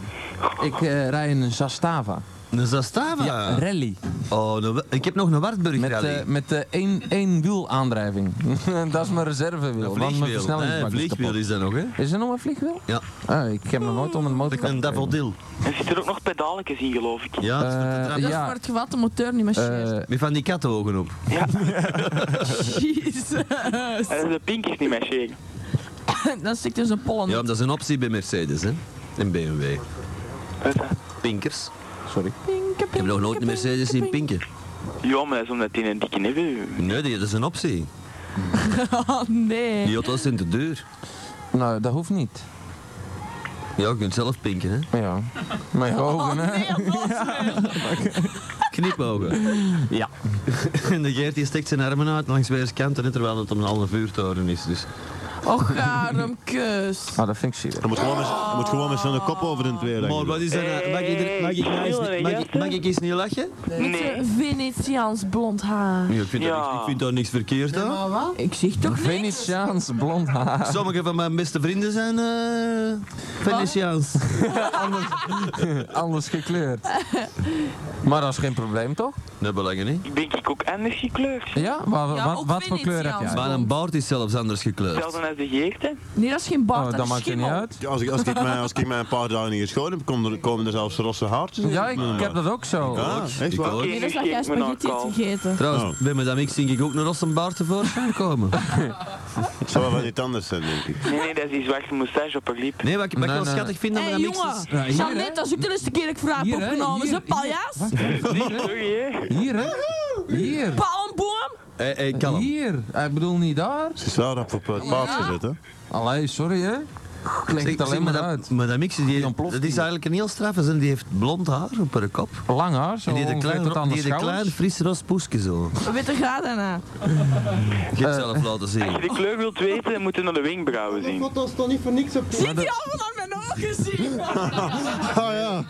ik, eh, rij een Zastava.
Een Zastava.
Ja, rally.
Oh, een wa- ik heb nog een Wartburg
Met,
Ah. rally.
eh met de één, één wiel aandrijving. dat is mijn reservewiel.
Een
Want mijn
vliegwiel. Nee,
versnellingsbak is
vliegwiel
kapot.
is dat nog, hè?
Is er nog een vliegwiel?
Ja.
Ah, ik heb nog nooit onder een motor
Een daffodil.
En zit er ook nog pedaletjes in, geloof ik.
Ja, dat is voor te
Eh,
trappen.
Dat is
Ja.
voor het geval de motor niet meer scheert.
Eh,
Met van die kattenogen op.
Jezus.
En de pink is niet meer shaken.
Dan stikt dus een pollen.
Ja, dat is een optie bij Mercedes, hè. En BMW. Pinkers.
Pinke,
Ik heb nog nooit
pinke,
een Mercedes
pinke,
zien pinken.
Ja, maar dat is omdat die een dikke neef heeft.
Nee, die- dat is een optie.
pinke. Oh nee.
Die auto's zijn te duur.
nou, dat hoeft niet.
Ja, je kunt zelf pinken, hè.
Ja. Mijn
Oh
ogen, hè?
nee, oh,
Knipogen.
Ja.
En de Geert die steekt zijn armen uit langs weerskanten, hè, terwijl het om een halve vuurtoren is. Dus.
Och, garum, Oh, kus.
Ah, dat vind ik zielig.
Hij moet gewoon met, hij moet gewoon met zo'n kop over in twee leggen.
is
dat nou? Mag ik er- mag ik nou eens niet- mag ik- mag ik
eens niet lachen?
Met
Nee.
zijn Venetiaans blond haar.
Nee, ik vind, daar
Ja.
niks, ik vind daar niks verkeerd aan.
Ik zeg toch niks?
Venetiaans blond haar.
Sommige van mijn beste vrienden zijn eh Venetiaans.
Anders gekleurd. Maar dat is geen probleem, toch?
Nee, belangen niet.
Ik Denk ik ook anders gekleurd.
Ja? Wat,
Ja,
wat,
ook
wat voor kleur heb
Venetiaans.
jij?
Maar-
Maar een baard is zelfs anders gekleurd.
Hetzelfde als de geert, hè.
Nee, dat is geen baard,
Oh,
dat
dat
is
maakt er niet
schimmel.
uit.
Ja, als, ik, als, ik mij, als ik mij een paar dagen niet geschoren heb, komen er, komen er zelfs rosse haartjes in.
Ja, ik, ik heb dat ook zo.
Ja, echt
Ik
waar?
ook.
Oké,
Nee, dat is dat
nu
jij
steek ik me naar
spaghetti hebt
Karl.
gegeten.
Trouwens,
Oh.
bij Madame X denk ik ook nog als een baard tevoorschijn komen.
Het zou wel niet anders zijn, denk ik.
Nee, nee, dat is die zwarte moustache op haar lip.
Nee, wat ik, wat ik
Nee,
wel
nee.
schattig vind
Hé
aan
hey,
Madame X
jongen,
is...
Ja, hier,
Jeannette, dat is ook de eerste keer dat ik vraag heb
Hier, hè,
opgenomen. Is
hier,
een paljas?
Sorry, hè.
Hier, hè? Hier.
Palmboom?
Hey, hey, kalm.
Hier. Ik bedoel niet daar.
Ze is wel rap op het paard gezet, hè?
Allee, sorry, hè? Klinkt
Zeg,
het alleen
zeg,
maar
madame-
uit.
Madame X, die,
Die ontploft
dat is
hier.
eigenlijk een heel straffe zin. Die heeft blond haar op haar kop.
Lang haar, zo
En die heeft een
ongeveer
klein,
tot aan
die
de
heeft een klein
schouders.
fris ros poesje zo.
Witte graad daarna.
Ik heb het
Eh.
zelf laten
Als je
zien.
de kleur wilt weten, moet je naar de wenkbrauwen zien.
Ziet die allemaal aan mijn ogen zien?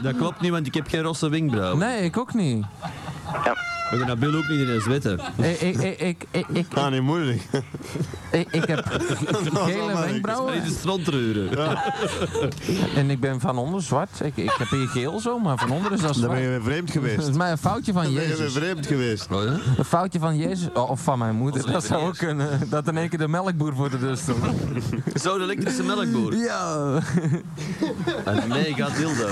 Dat klopt niet, want ik heb geen rosse wenkbrauwen.
Nee, ik ook niet.
We gaan dat Bill ook niet in een zwetten.
Ik, ik, ik, ik, ik, ik,
Ah, niet moeilijk.
ik, ik heb gele
allemaal
Maar
wenkbrauwen
dit is strandtreuren.
en ik ben van onder zwart. Ik, ik heb hier geel zo, maar van onder is dat
Dan ben je
zwart.
weer vreemd
Dat
geweest.
is maar een foutje van
Dan ben je weer
Jezus.
vreemd geweest.
Oh ja?
Een foutje van Jezus, oh, of van mijn moeder, dat zou ook kunnen. Dat in één keer de melkboer voor de deur stond. Ah,
Zo de elektrische melkboer.
Ja.
Een mega dildo.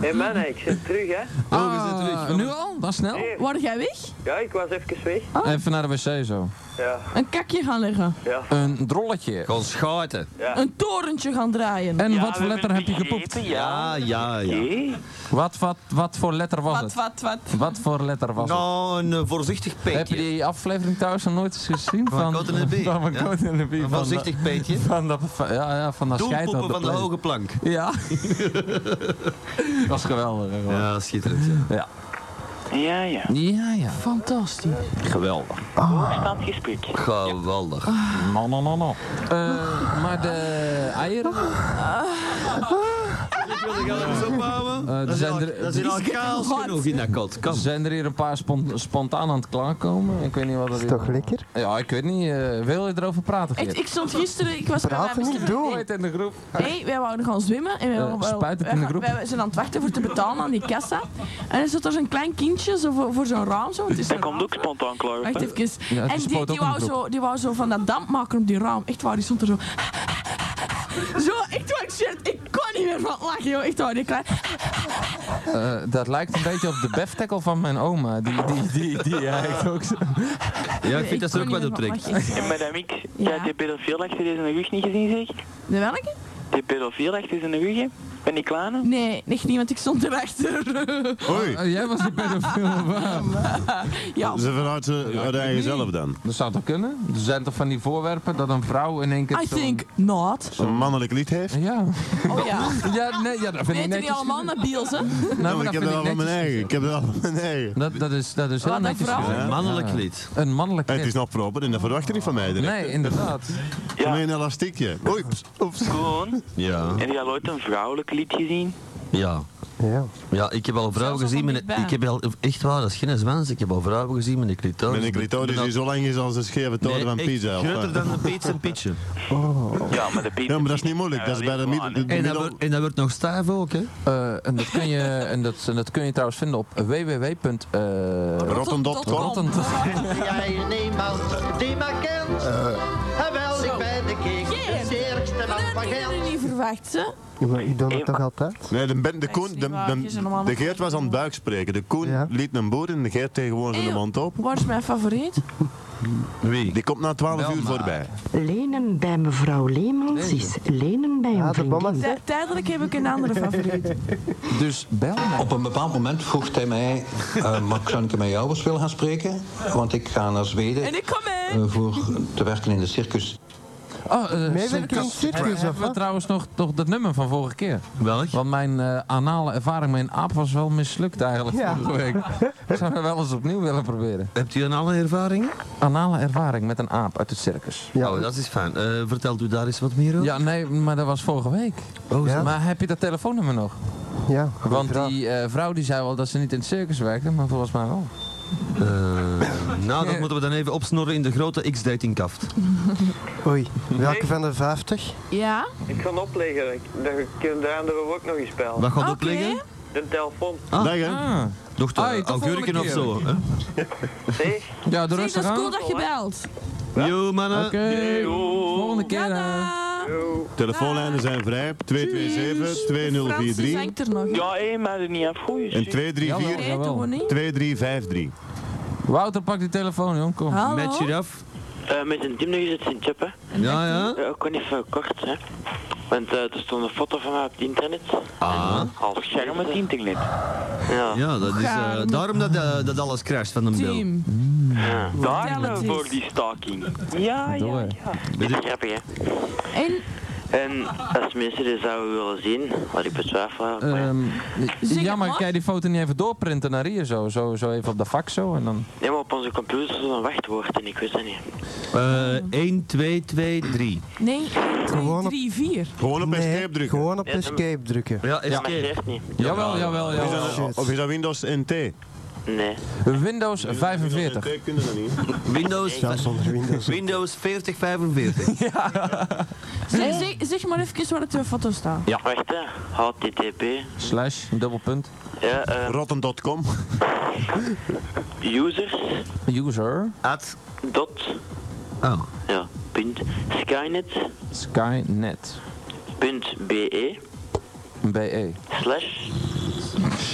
Hé mannen, ik zit terug hè.
Oh, we zijn terug.
Ah, nu al? Dat snel?
Word jij weg?
Ja, ik was even weg.
Even naar de wc zo.
Ja,
Een kakje gaan leggen.
ja.
Een drolletje.
Gewoon schaten.
Een torentje gaan draaien.
En wat voor letter heb je gepoept?
Ja,
Ja, ja, ja.
Wat, wat, wat voor letter was
Wat,
het?
wat, wat.
Wat voor letter was het?
Nou, een eh, voorzichtig
Heb je
peetje.
die aflevering thuis nog nooit eens gezien?
Van Code in de Bee,
Van
ja.
Code in de Bee,
Een
van dat-
voorzichtig peetje.
Van dat, van- ja, ja, van dat scheid op de
Doelpoepen van de
play.
hoge plank.
Ja. dat was geweldig. hè, gewoon.
Ja, schitterend. ja.
Ja.
Ja, ja.
Ja, ja.
Fantastisch.
Geweldig.
Staand gesprek.
Geweldig.
No, no, no, no. Eh, maar de eieren? Eh, er zijn er-
Dat is al chaos
Wat?
genoeg in dat kot. Kom.
Zijn er hier een paar spon- spontaan aan het klaarkomen? Ik weet niet wat er is.
Toch lekker?
Ja, ik weet niet. eh, wil je erover praten,
Ik,
Geert?
ik stond gisteren, ik was bij
Praten
mijn
niet, doe.
Ooit in de groep.
Nee, wij wouden gaan zwemmen en wij,
Eh,
wouden- wij,
spuit het in de groep.
wij- wij zijn aan het wachten voor te betalen aan die kassa. En er zat er zo'n klein kindje zo voor, voor zo'n raam. Zo, het is
Dat
een
komt
raam.
ook spontaan klaar.
Wacht even.
Ja, het
en die,
spoot ook
die,
in de
wou
groep.
zo, die wou zo van dat damp maken op die raam. Echt waar, die stond er zo. Zo, echt waar, ik, zweer het, ik kon niet meer van lachen, joh. Echt waar, die klein.
Eh, dat lijkt een beetje op de beftackle van mijn oma. Die, die, die, die eigenlijk ook zo.
Ja, ik vind dat ze ook
kon
wat
niet meer van
optrekt.
lachen, echt
En
waar.
madame X,
Ja.
ja, die pedofiel achter deze rug niet gezien zeg?
De welke?
Die pedofiel achter zijn rug, hè? Ben ik klaar nou?
Nee, echt niet, want ik stond erachter.
Oei,
Eh, jij was die pedofiel. waar?
ja,
ze vanuit ze uit de eigen
niet.
zelf dan.
Dat zou toch kunnen? Er zijn toch van die voorwerpen dat een vrouw in één keer.
I
zo'n-
think not.
Een mannelijk lied heeft.
Ja.
Oh ja.
Ja, nee, ja, dat vind ik
Weten
netjes.
die allemaal naar Biels, hè?
Nou,
Ja, maar ik heb
vind
dat al van
netjes.
mijn eigen. Ik heb dat al van mijn eigen.
Dat, dat is, dat is heel
Laat een
netjes.
vrouw.
gezegd.
Een mannelijk
Ja.
lied.
Een mannelijk
Het is
kind.
nog proper en dat verwacht je niet van mij. direct.
Nee, inderdaad.
Van
Ja,
een elastiekje. Oei, pst, oeps.
gewoon.
Ja.
En die had ooit een vrouwelijk lied gezien.
Ja.
Ja.
Ja, ik heb al vrouwen
Zelfs al
gezien
van
met een-
dichtbij.
Ik heb al, echt waar, dat is geen zwans. Ik heb al vrouwen gezien met een clitoris.
Mijn
Ik
clitoris
ben
die zo lang is als de scheve
al-
toren van
Nee,
Pisa.
echt
of
Groter
wat?
dan een pizza en pitje.
Ja, maar de Pieter.
Ja, maar dat is niet moeilijk. Dat is bij de midden. de
En dat,
middel-
wordt- en dat wordt nog stijf ook, hè?
Eh, en, dat kun je, en, dat, en dat kun je trouwens vinden op eh, www.rotten.com.
Rottendot.com.
jij niemand die me kent. en wel, ik ben de king, de
Yeah.
sterkste
Dat
man van
hadden
Gent.
jullie niet verwacht, hè?
Maar u doet het toch altijd?
Nee, de, ben, de, Koen,
niet
de,
waar,
de-
je bent normaal
de
nog-
Geert was aan het buik spreken. De Koen
Ja.
liet een boer en de Geert tegen gewoon zijn
Eeuw.
mond op.
Wat is mijn favoriet?
Wie?
Die komt na 12
Wel
uur
maar.
voorbij.
Lenen bij mevrouw Leemans is lenen bij
Ja,
een
de bommen.
vriendin.
Tij- Tijdelijk heb ik een andere favoriet.
Dus bel mij.
Op een bepaald moment vroeg hij mij, eh mag zou ik met jou eens willen gaan spreken? Want ik ga naar Zweden
En ik kom mee.
eh, voor te werken in de circus.
Oh, eh,
Meewerking in
circus.
het circus, of
Hebben we
wat?
trouwens nog, nog dat nummer van vorige keer?
Welk?
Want mijn eh anale ervaring met een aap was wel mislukt eigenlijk
Ja.
vorige week. Ik zou het wel eens opnieuw willen proberen.
Hebt u dan alle ervaringen?
Anale ervaring met een aap uit het circus.
Ja.
Oh, dat is fijn. Eh, vertelt u daar eens wat meer over?
Ja, nee, maar dat was vorige week.
Oh,
Ja.
Maar heb je dat telefoonnummer nog?
Ja, goeie
Want
vraag.
die eh, vrouw die zei wel dat ze niet in het circus werkte, maar volgens mij wel.
Eh, nou, dat
Ja.
moeten we dan even opsnorren in de grote X-datingkaft.
Oei, welke van de 50?
Ja?
Ik ga opleggen, daar doen we ook nog eens spelen.
Wat gaat
Oké.
opleggen?
De telefoon.
Ah.
Dag, hè?
Ah.
Nog de
Ah, hey, tot
augurken of
volgende
zo.
keer.
hè?
Zeg,
Ja, doe
Zeg, dat
rustig
is
aan.
cool dat je belt.
Yo, mannen.
Oké, volgende keer. hè.
Tada.
Telefoonlijnen zijn vrij. 227
Francis
2043
hangt er nog.
ja, hé, maar er niet af. Goeie
en
shit.
234
Nee, toch niet?
2353.
eh, Wouter, pak die telefoon, jong. Kom.
Hallo?
Met giraf.
Eh, met een team nog eens het Sint-Jep, hè.
Ja, ja.
Ja, ik kon even kort, hè. Want eh, er stond een foto van mij op het internet.
Ah.
Als scherm op het internet. Ja.
Ja, dat is eh,
Gaan.
daarom dat, eh, dat alles crasht van een bil.
Team.
Daar
Vertel het
nou
eens.
voor die staking. Ja, ja,
Door.
ja. Dit is grappig, hè.
En
En als mensen dit zouden willen zien, wat ik betwijfel, maar
Ehm,
Zing
ja, maar
het maar.
kan je die foto niet even doorprinten naar hier zo? Zo, zo even op de fax zo en dan...
neem op onze computer zo'n wachtwoord en ik wist dat niet.
Eh 1, 2, 2, 3.
nee, 1,
Gewoon
2, 3,
op-
4.
Gewoon op
Nee,
escape drukken.
gewoon op escape drukken.
Ja,
Ja, maar
escape.
geeft niet.
Jawel, jawel,
Of is
jawel.
dat-
shit.
Of is dat Windows NT?
Nee.
Windows 45.
Kunnen dat niet?
Windows,
Windows.
Windows 4045.
Zeg, zeg, zeg maar even waar het eh, foto staat.
Wacht hè. HTTP.
Slash, dubbelpunt.
Ja, eh,
Rotten.com.
users.
User.
At.
Dot.
Oh.
Ja. Punt. Skynet.
Skynet.
Punt. BE.
BE.
Slash.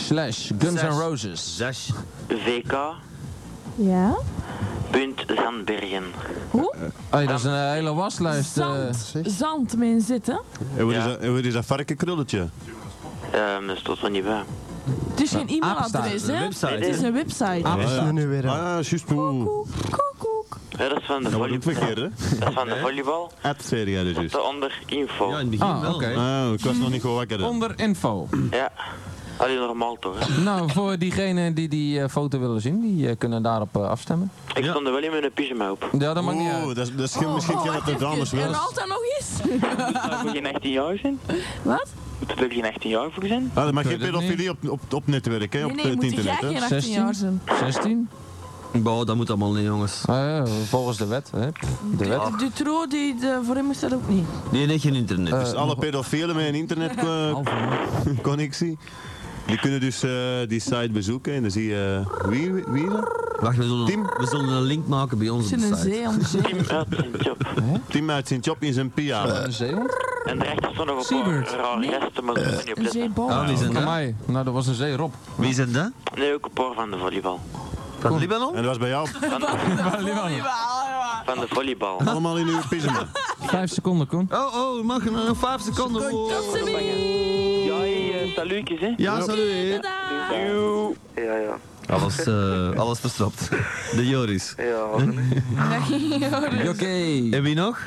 Slash Guns N'
Slash.
Roses.
Zes.
VK.
Ja?
Punt. Zandbergen.
Hoe?
Hey, dat is een hele waslijst. eh.
Zand. Zand, men zitten.
En wat is
Ja.
dat- en wat is dat varkenkrulletje?
Ehm, dat stond er niet bij.
Het is
Nou,
geen e-mailadres,
Apenstaart,
hè?
een website,
Het is
hè?
een website.
Wat is dat nu weer?
Ah,
aan?
ja, juist.
Oh,
Oeh.
Koekoek.
Ja, dat is van de
Dat wordt ook
volleybal.
Nou, verkeerd, hè?
Dat is van de volleybal.
Ad, zei jij dus juist.
Daaronder info.
Ja, in het
Ja.
begin
Ah,
wel.
oké.
Ah, ik was nog niet goed wakker. hè.
Onder info.
Allee, normaal toch, hè?
nou, voor diegenen die die eh, foto willen zien, die eh, kunnen daarop eh, afstemmen.
Ik stond er wel in mijn pyjama op.
Ja, dat maakt niet
Oeh,
uit.
Oh, dat is- dat is geen- misschien
Oh,
kan dat de
wacht
dames
even.
wel.
Herhaalt dat nog eens?
Moet je geen 18 jaar zijn?
Wat?
Moet er toch geen 18 jaar voor zijn?
Ah, dat mag
Ik
geen
weet het
pedofilie op, op, op netwerk, hè?
Nee,
Op
nee,
het
moet jij
internet, hè?
geen 18 jaar zijn.
16?
Boah, dat moet allemaal niet, jongens.
Ah, ja, volgens de wet. Hè. Pff, De wet.
De Dutroux, die, de, voor hem is dat ook niet.
Nee, nee, geen internet.
Eh,
Dus-
Dus alle pedofielen met een internetconnectie, die kunnen dus eh, die site bezoeken en dan zie je eh, wie, wie er?
Wacht, we zullen,
Tim?
we zullen een link maken bij ons
Het
op
is
de
een
site.
zee om zee.
Tim uit zijn job.
Tim uit zijn job in zijn pyjama.
Een zeehond?
En daarachter stond nog een
Siebert.
paar rare resten, maar daar kon je
Eh,
niet op
Een
letten.
zeebal.
Ah, wie zijn
Van
dat?
mij. Nou, dat was een zee, Rob.
Wie zijn dat?
Nee, ook een paar van de volleybal.
Van Libanon?
En dat was bij jou
Van Van de volleybal.
allemaal in uw pyjama.
Vijf seconden, Koen.
Oh, oh, mag je nog vijf seconden.
Tot
Oh.
ze weer.
Ja, hey, eh, salutjes, hè.
Ja, salut.
Tada.
Ja, ja.
Alles, eh, alles verstopt. De Joris.
Hm?
Ja,
Oké.
En wie nog?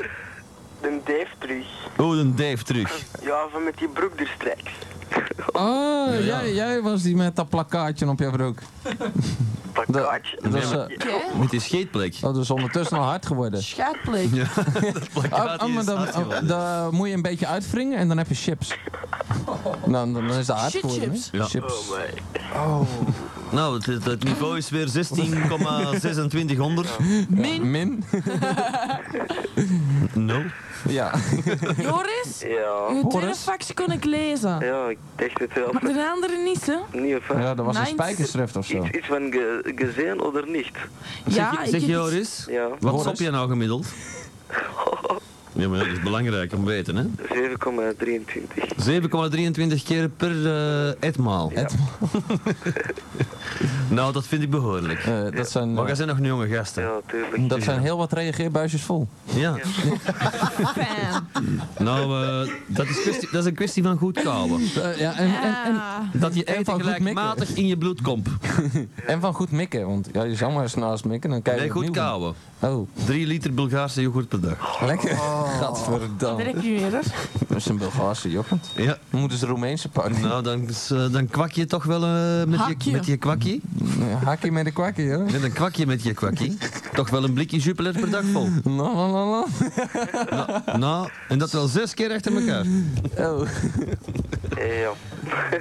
de Dave terug.
Oh, een Dave terug.
Ja, van met die broek er straks.
Oh, Jij, jij was die met dat plakkaatje op je broek.
Plakkaatje.
Dat is, eh,
Met die scheetplek.
oh, dat is ondertussen al hard geworden.
Schaatplek.
Oh, oh, maar dan, oh, dan moet je een beetje uitwringen en dan heb je chips. Nou, dan, dan is dat hard
Shit
geworden.
chips. Oh,
hè?
Ja.
chips.
Nou, het, het- het niveau is weer 16,2600.
Min.
Min?
Nul.
Ja.
Joris,
Ja.
je tweede
Joris.
fax kon ik lezen.
Ja, ik dacht het wel.
Maar de andere niet, hè?
Niet of
ja, dat was een
Mijns-
spijkerschrift of zo.
iets van gezien of niet.
Ja,
zeg zeg
heb iets-
Joris,
Ja,
wat stop je nou gemiddeld? Ja, maar ja, dat is belangrijk om te weten, hè.
7,23.
7,23 keer per eh, etmaal. nou, dat vind ik behoorlijk.
Eh, dat zijn,
Maar jij
eh,
zijn nog jonge gasten.
tuurlijk.
dat zijn heel wat reageerbuisjes vol.
Ja.
Ah, Fijn.
Nou, eh, dat, is kwestie, dat is een kwestie van goed kauwen.
Eh, ja, en, en, en,
Ah.
Dat je
En
eten
van goed
gelijkmatig in je bloed komt.
en van goed mikken, want ja, je zou maar eens naast mikken, dan kijk je
Nee, goed
opnieuw.
kauwen.
Oh,
3 liter Bulgaarse yoghurt per dag.
lekker.
Oh. Daar
Gadverdamme.
heb je weer, hè?
Dat is een Bulgaarse jokkend.
Ja.
Moeten ze Roemeense pakken.
Nou, dan, is, eh, dan kwak je toch wel eh, met,
Hakje.
je, met je kwakkie.
Hakkie met de kwakkie, hoor.
Met een kwakje met je kwakkie. Toch wel een blikje Jupiler per dag vol.
No, no, no, no.
Nou, en dat wel zes keer achter elkaar.
Oh.
Eh, Ja.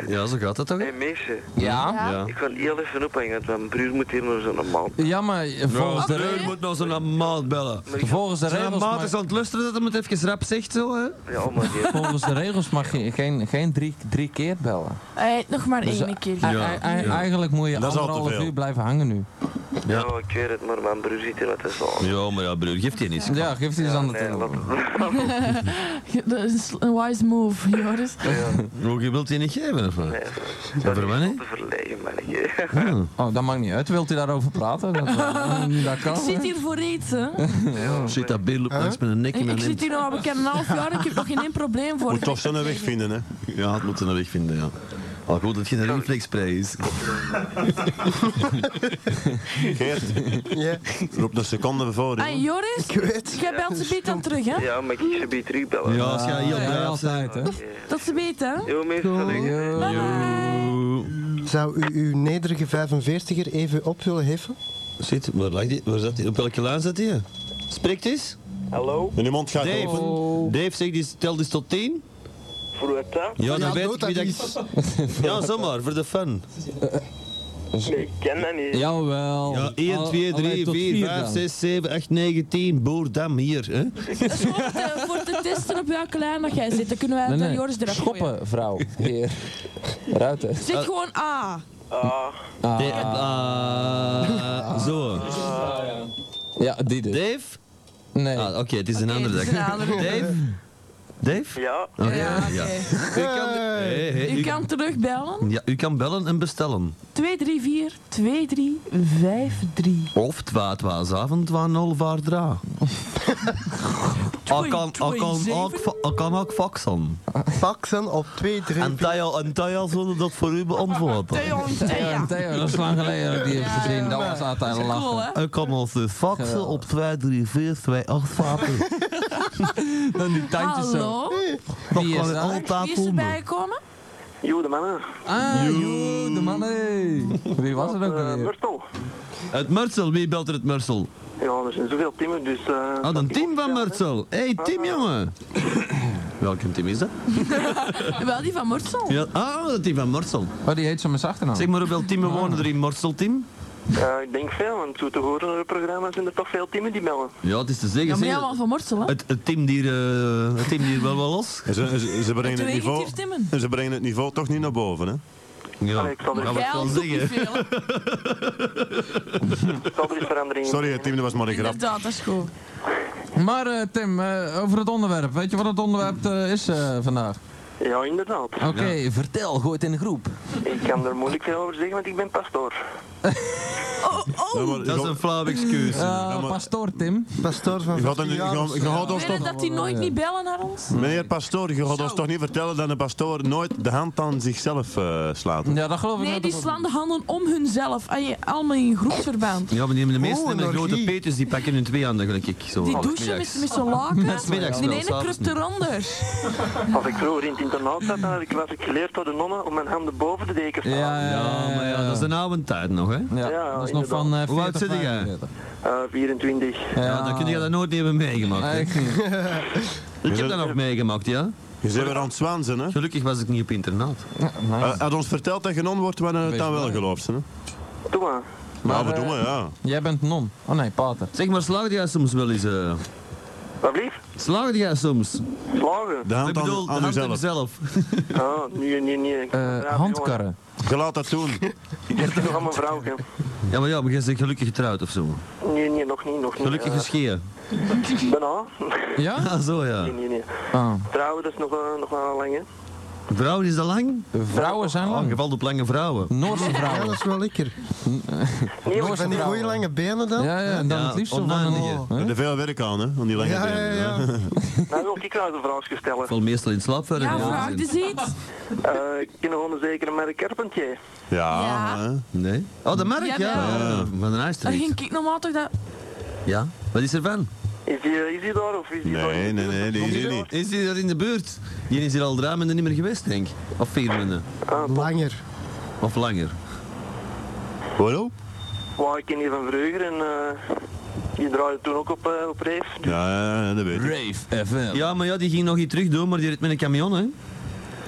Ja, zo gaat dat toch?
Hé, meisje.
Ja?
Ja.
Ik kan heel even ophangen, want mijn broer moet hier naar zo'n maand.
Ja, maar eh, volgens de,
Ja,
re-
moet nou zo'n maat bellen.
volgens de
Zijn
regels...
maat
mag-
is aan het luisteren dat hem het even rap zegt zo, hè?
Ja, maar die...
Volgens de regels mag je geen, geen drie, drie keer bellen.
Hé, nog maar
Dus,
één keer.
Ei- ei- ei-
eh, ja.
Eigenlijk moet je
Dat is al te
anderhalf
veel.
uur blijven hangen nu.
Ja.
Ja, ik weet het, maar mijn broer zit hier wat te slaan.
Ja, maar ja, broer, geeft hij niet.
Ja, geef die eens aan de
Nee,
telefoon.
laat-
Dat is een wise move, Joris.
Hoe je wilt hij niet geven, of wat? Ja, voor mij
om
niet.
te verlegen, mannetje.
Oh, dat maakt niet uit. Wilt u daarover praten? Dat, eh, dat kan.
Ik zit hier voor iets, hè?
Zit dat beer loopt langs met een nek in
Ik,
mijn
ik
nek.
zit hier al bekend een half jaar, ik heb nog geen één probleem voor.
Moet toch zo'n weg vinden, hè?
Ja, het moet een weg vinden, ja. Al goed dat het geen reflexspray is.
Geert,
Ja,
roep een seconde voor.
Hey, Ah, Joris,
ik weet.
jij belt ze beet dan terug, hè?
Ja, maar ik ze bij terugbellen.
Ja, als jij heel
Ja,
braaf bent.
altijd, hè?
Dat ze beet, hè?
Jo, mensen, salut.
Yo.
Zou u uw nederige 45er even op willen heffen?
Zit, waar lag die? Waar zat die? Op welke lijn zat hij? Spreekt Oh. eens.
Hallo,
En uw mond gaat
Dave,
open.
Oh.
Dave zegt, die tel eens tot 10.
voor wat dat?
Ja, dan
Ja,
weet
doe
ik
dat
wie dat...
eens.
Ja, zomaar, voor de fun.
Ik ken dat niet.
Jawel.
Ja, 1, 2, 3, 4, 5, 6, 7, 8, 9, 10. Boerdam, hier. Hè?
Dat is gewoon te- voor te testen op welke lijn dat jij zit. Dan kunnen wij het aan Joris eraf gooien.
Schoppen, vrouw. Heer. Ruiten.
Zit gewoon A.
Nee, ah, zo.
Ja, die dus.
Dave?
Nee.
Ah, Oké, het is een
Oké,
andere
het
dag.
is een andere dag.
Dave? Dave?
Ja,
Oké.
Ja, oké.
U kan, hey, hey,
U
u-
kan terugbellen.
ja, u kan bellen en bestellen.
234 2353.
Of twa twa avond twa nul vaardra. Ik kan- ik kan ook fa- ik kan ook faxen.
Faxen op 2, 3,
En Thaya en Thaya zullen dat voor u beantwoorden.
Theo, Theo, dat is lang geleden dat ik die heb gezien. Dat was altijd een
Cool,
lachen.
hè?
Ik kan ons dus faxen op 23428
Dan die tandjes zo.
Hallo?
Dat
Wie is
kan u
dat?
Wie
altijd
is erbij
komen.
gekomen?
joh, de mannen.
Ah, joe, de man. hey. Wie was het ook
Eh,
alweer?
Murtel.
Het Murtsel, wie belt er het Murtsel?
Ja, er zijn zoveel timmen, dus... eh,
Ah, een team van
Ja,
Murtsel. Hé, hey, team jongen. Welke team is dat?
Wel, die van Mortsel.
Ja, ah, dat team van Murtsel.
Oh, die heet zo met zijn
Zeg
achternaam.
maar, hoeveel teamen wonen er in Murtsel, team?
eh, ik denk veel, want zo te horen naar de programma's zijn er toch veel timmen die bellen.
Ja, het is te
Ja,
zeggen.
maar
zeg,
jij was van Mortsel, hè?
het, het team hier, eh, het team hier wel wel los.
Ze, ze, ze brengen
Toen
het
ik
niveau,
hier stemmen.
ze brengen het niveau toch niet naar boven, hè?
Ja,
Allee, ik zal er-
dat
Jij
wel
al
zeggen.
veel. hè?
Zal er eens Dus verandering in
Sorry, hè, Tim, dat was maar een grap.
Inderdaad, dat is goed.
Maar eh, Tim, eh, over het onderwerp. Weet je wat het onderwerp eh, is eh, vandaag? Eh,
Ja, inderdaad.
Oké, vertel. Gooi het in de groep.
Ik kan er moeilijk veel over zeggen, want ik ben pastoor.
Oh,
Ja, maar
Dat is
je-
een flauw excuus.
Ja,
Eh
maar-
pastoor Tim.
pastoor van
je gaat hem-
15
je
jaar.
gaat- je gaat ons
Ik weet
toch...
dat die nooit niet bellen naar ons.
Meneer pastoor, je gaat
Zo.
ons toch niet vertellen dat een pastoor nooit de hand aan zichzelf eh, slaat? hè?
Ja, dat geloof ik
Nee,
ook
die
wel.
slaan de handen om hunzelf. En je- Allemaal in groepsverband.
Ja, maar die hebben de
Oh,
meeste
een
hebben grote
orgie.
peters, die pakken hun twee handen, gelijk ik. Zo.
Die douchen met, met zijn laken.
middags
Die
wel,
ene
s'avonds
kruipt
niet.
eronder.
Als ik vroeger in het internaat zat, dan had ik, was ik geleerd door de nonnen om mijn handen boven de deken te
Ja,
houden.
ja,
Ja, maar ja, dat is een oude tijd nog, hè.
Ja,
Ja,
dat is nog van eh
Hoe oud
40,
zit jij?
45.
Eh, 24.
Ja,
Ja, dan kun je dat nooit hebben meegemaakt.
Nee,
hè.
ik niet.
Ik heb dat nog meegemaakt, ja.
Je bent weer aan het zwanzen, hè?
Gelukkig was ik niet op internaat.
Eh, Had ons verteld dat je non wordt, wanneer het
Wees
dan wel
blij.
gelooft, hè?
Doe maar.
Maar,
Maar we
eh,
doen maar, ja.
Jij bent non. Oh nee, pater.
Zeg maar, slaagde jij soms wel eens? eh
Wat blieft?
slaagde jij soms?
Slagen?
De
Ik
hand
bedoel,
aan,
de
aan
hand
uzelf.
zelf.
Ah, nee, nee, nee. Ik-
Eh,
ja,
handkarren.
Je laat dat doen.
jongen, Ik heb nog aan mijn vrouw. hè.
Ja, maar ja, maar jij bent gelukkig getrouwd of zo.
Nee, nee, nog niet, nog niet.
Gelukkig
Eh,
gescheiden.
Bijna.
Ja?
Ah, zo
Nee,
ja.
nee, nee.
Ah.
Trouwen, dat is nog, eh, nog wel lang, hè.
Vrouwen is dat lang?
Vrouwen zijn
Oh,
lang.
je valt op lange vrouwen.
Noorse
Ja, dat
vrouwen.
is wel lekker.
Nee, maar-
Van die goeie lange benen dan?
Ja, ja, en dan
Ja,
het liefst zo van
oneindige.
een...
Er is veel werk aan, hè? Aan die lange
ja, ja.
benen,
ja.
Nou wil ik nou eens een vraagje stellen.
Ik val meestal in slaap verder.
Ja,
in de
vraag
zin.
dus iets.
Eh, ik ken gewoon een zekere Merk Carpentier.
Ja,
Ja.
hè.
Nee. Oh, de merk, ja.
Ja,
ja. Van de
Dan
Nijstreek.
ging ik normaal toch dat...
Ja. Wat is er van?
Is die, is die daar of is die daar?
Nee, nee, nee, die is hier niet.
Is die daar in de buurt? Die is hier al drie maanden niet meer geweest, denk ik. Of vier maanden.
Langer.
Of langer.
Waarom?
Waar ik ken die van vroeger en eh, die draaide toen ook op, eh, op reef.
Ja, ja, ja, dat weet ik.
Rave FM.
Ja, maar ja, die ging nog iets terug doen, maar die reed met een camion, hè.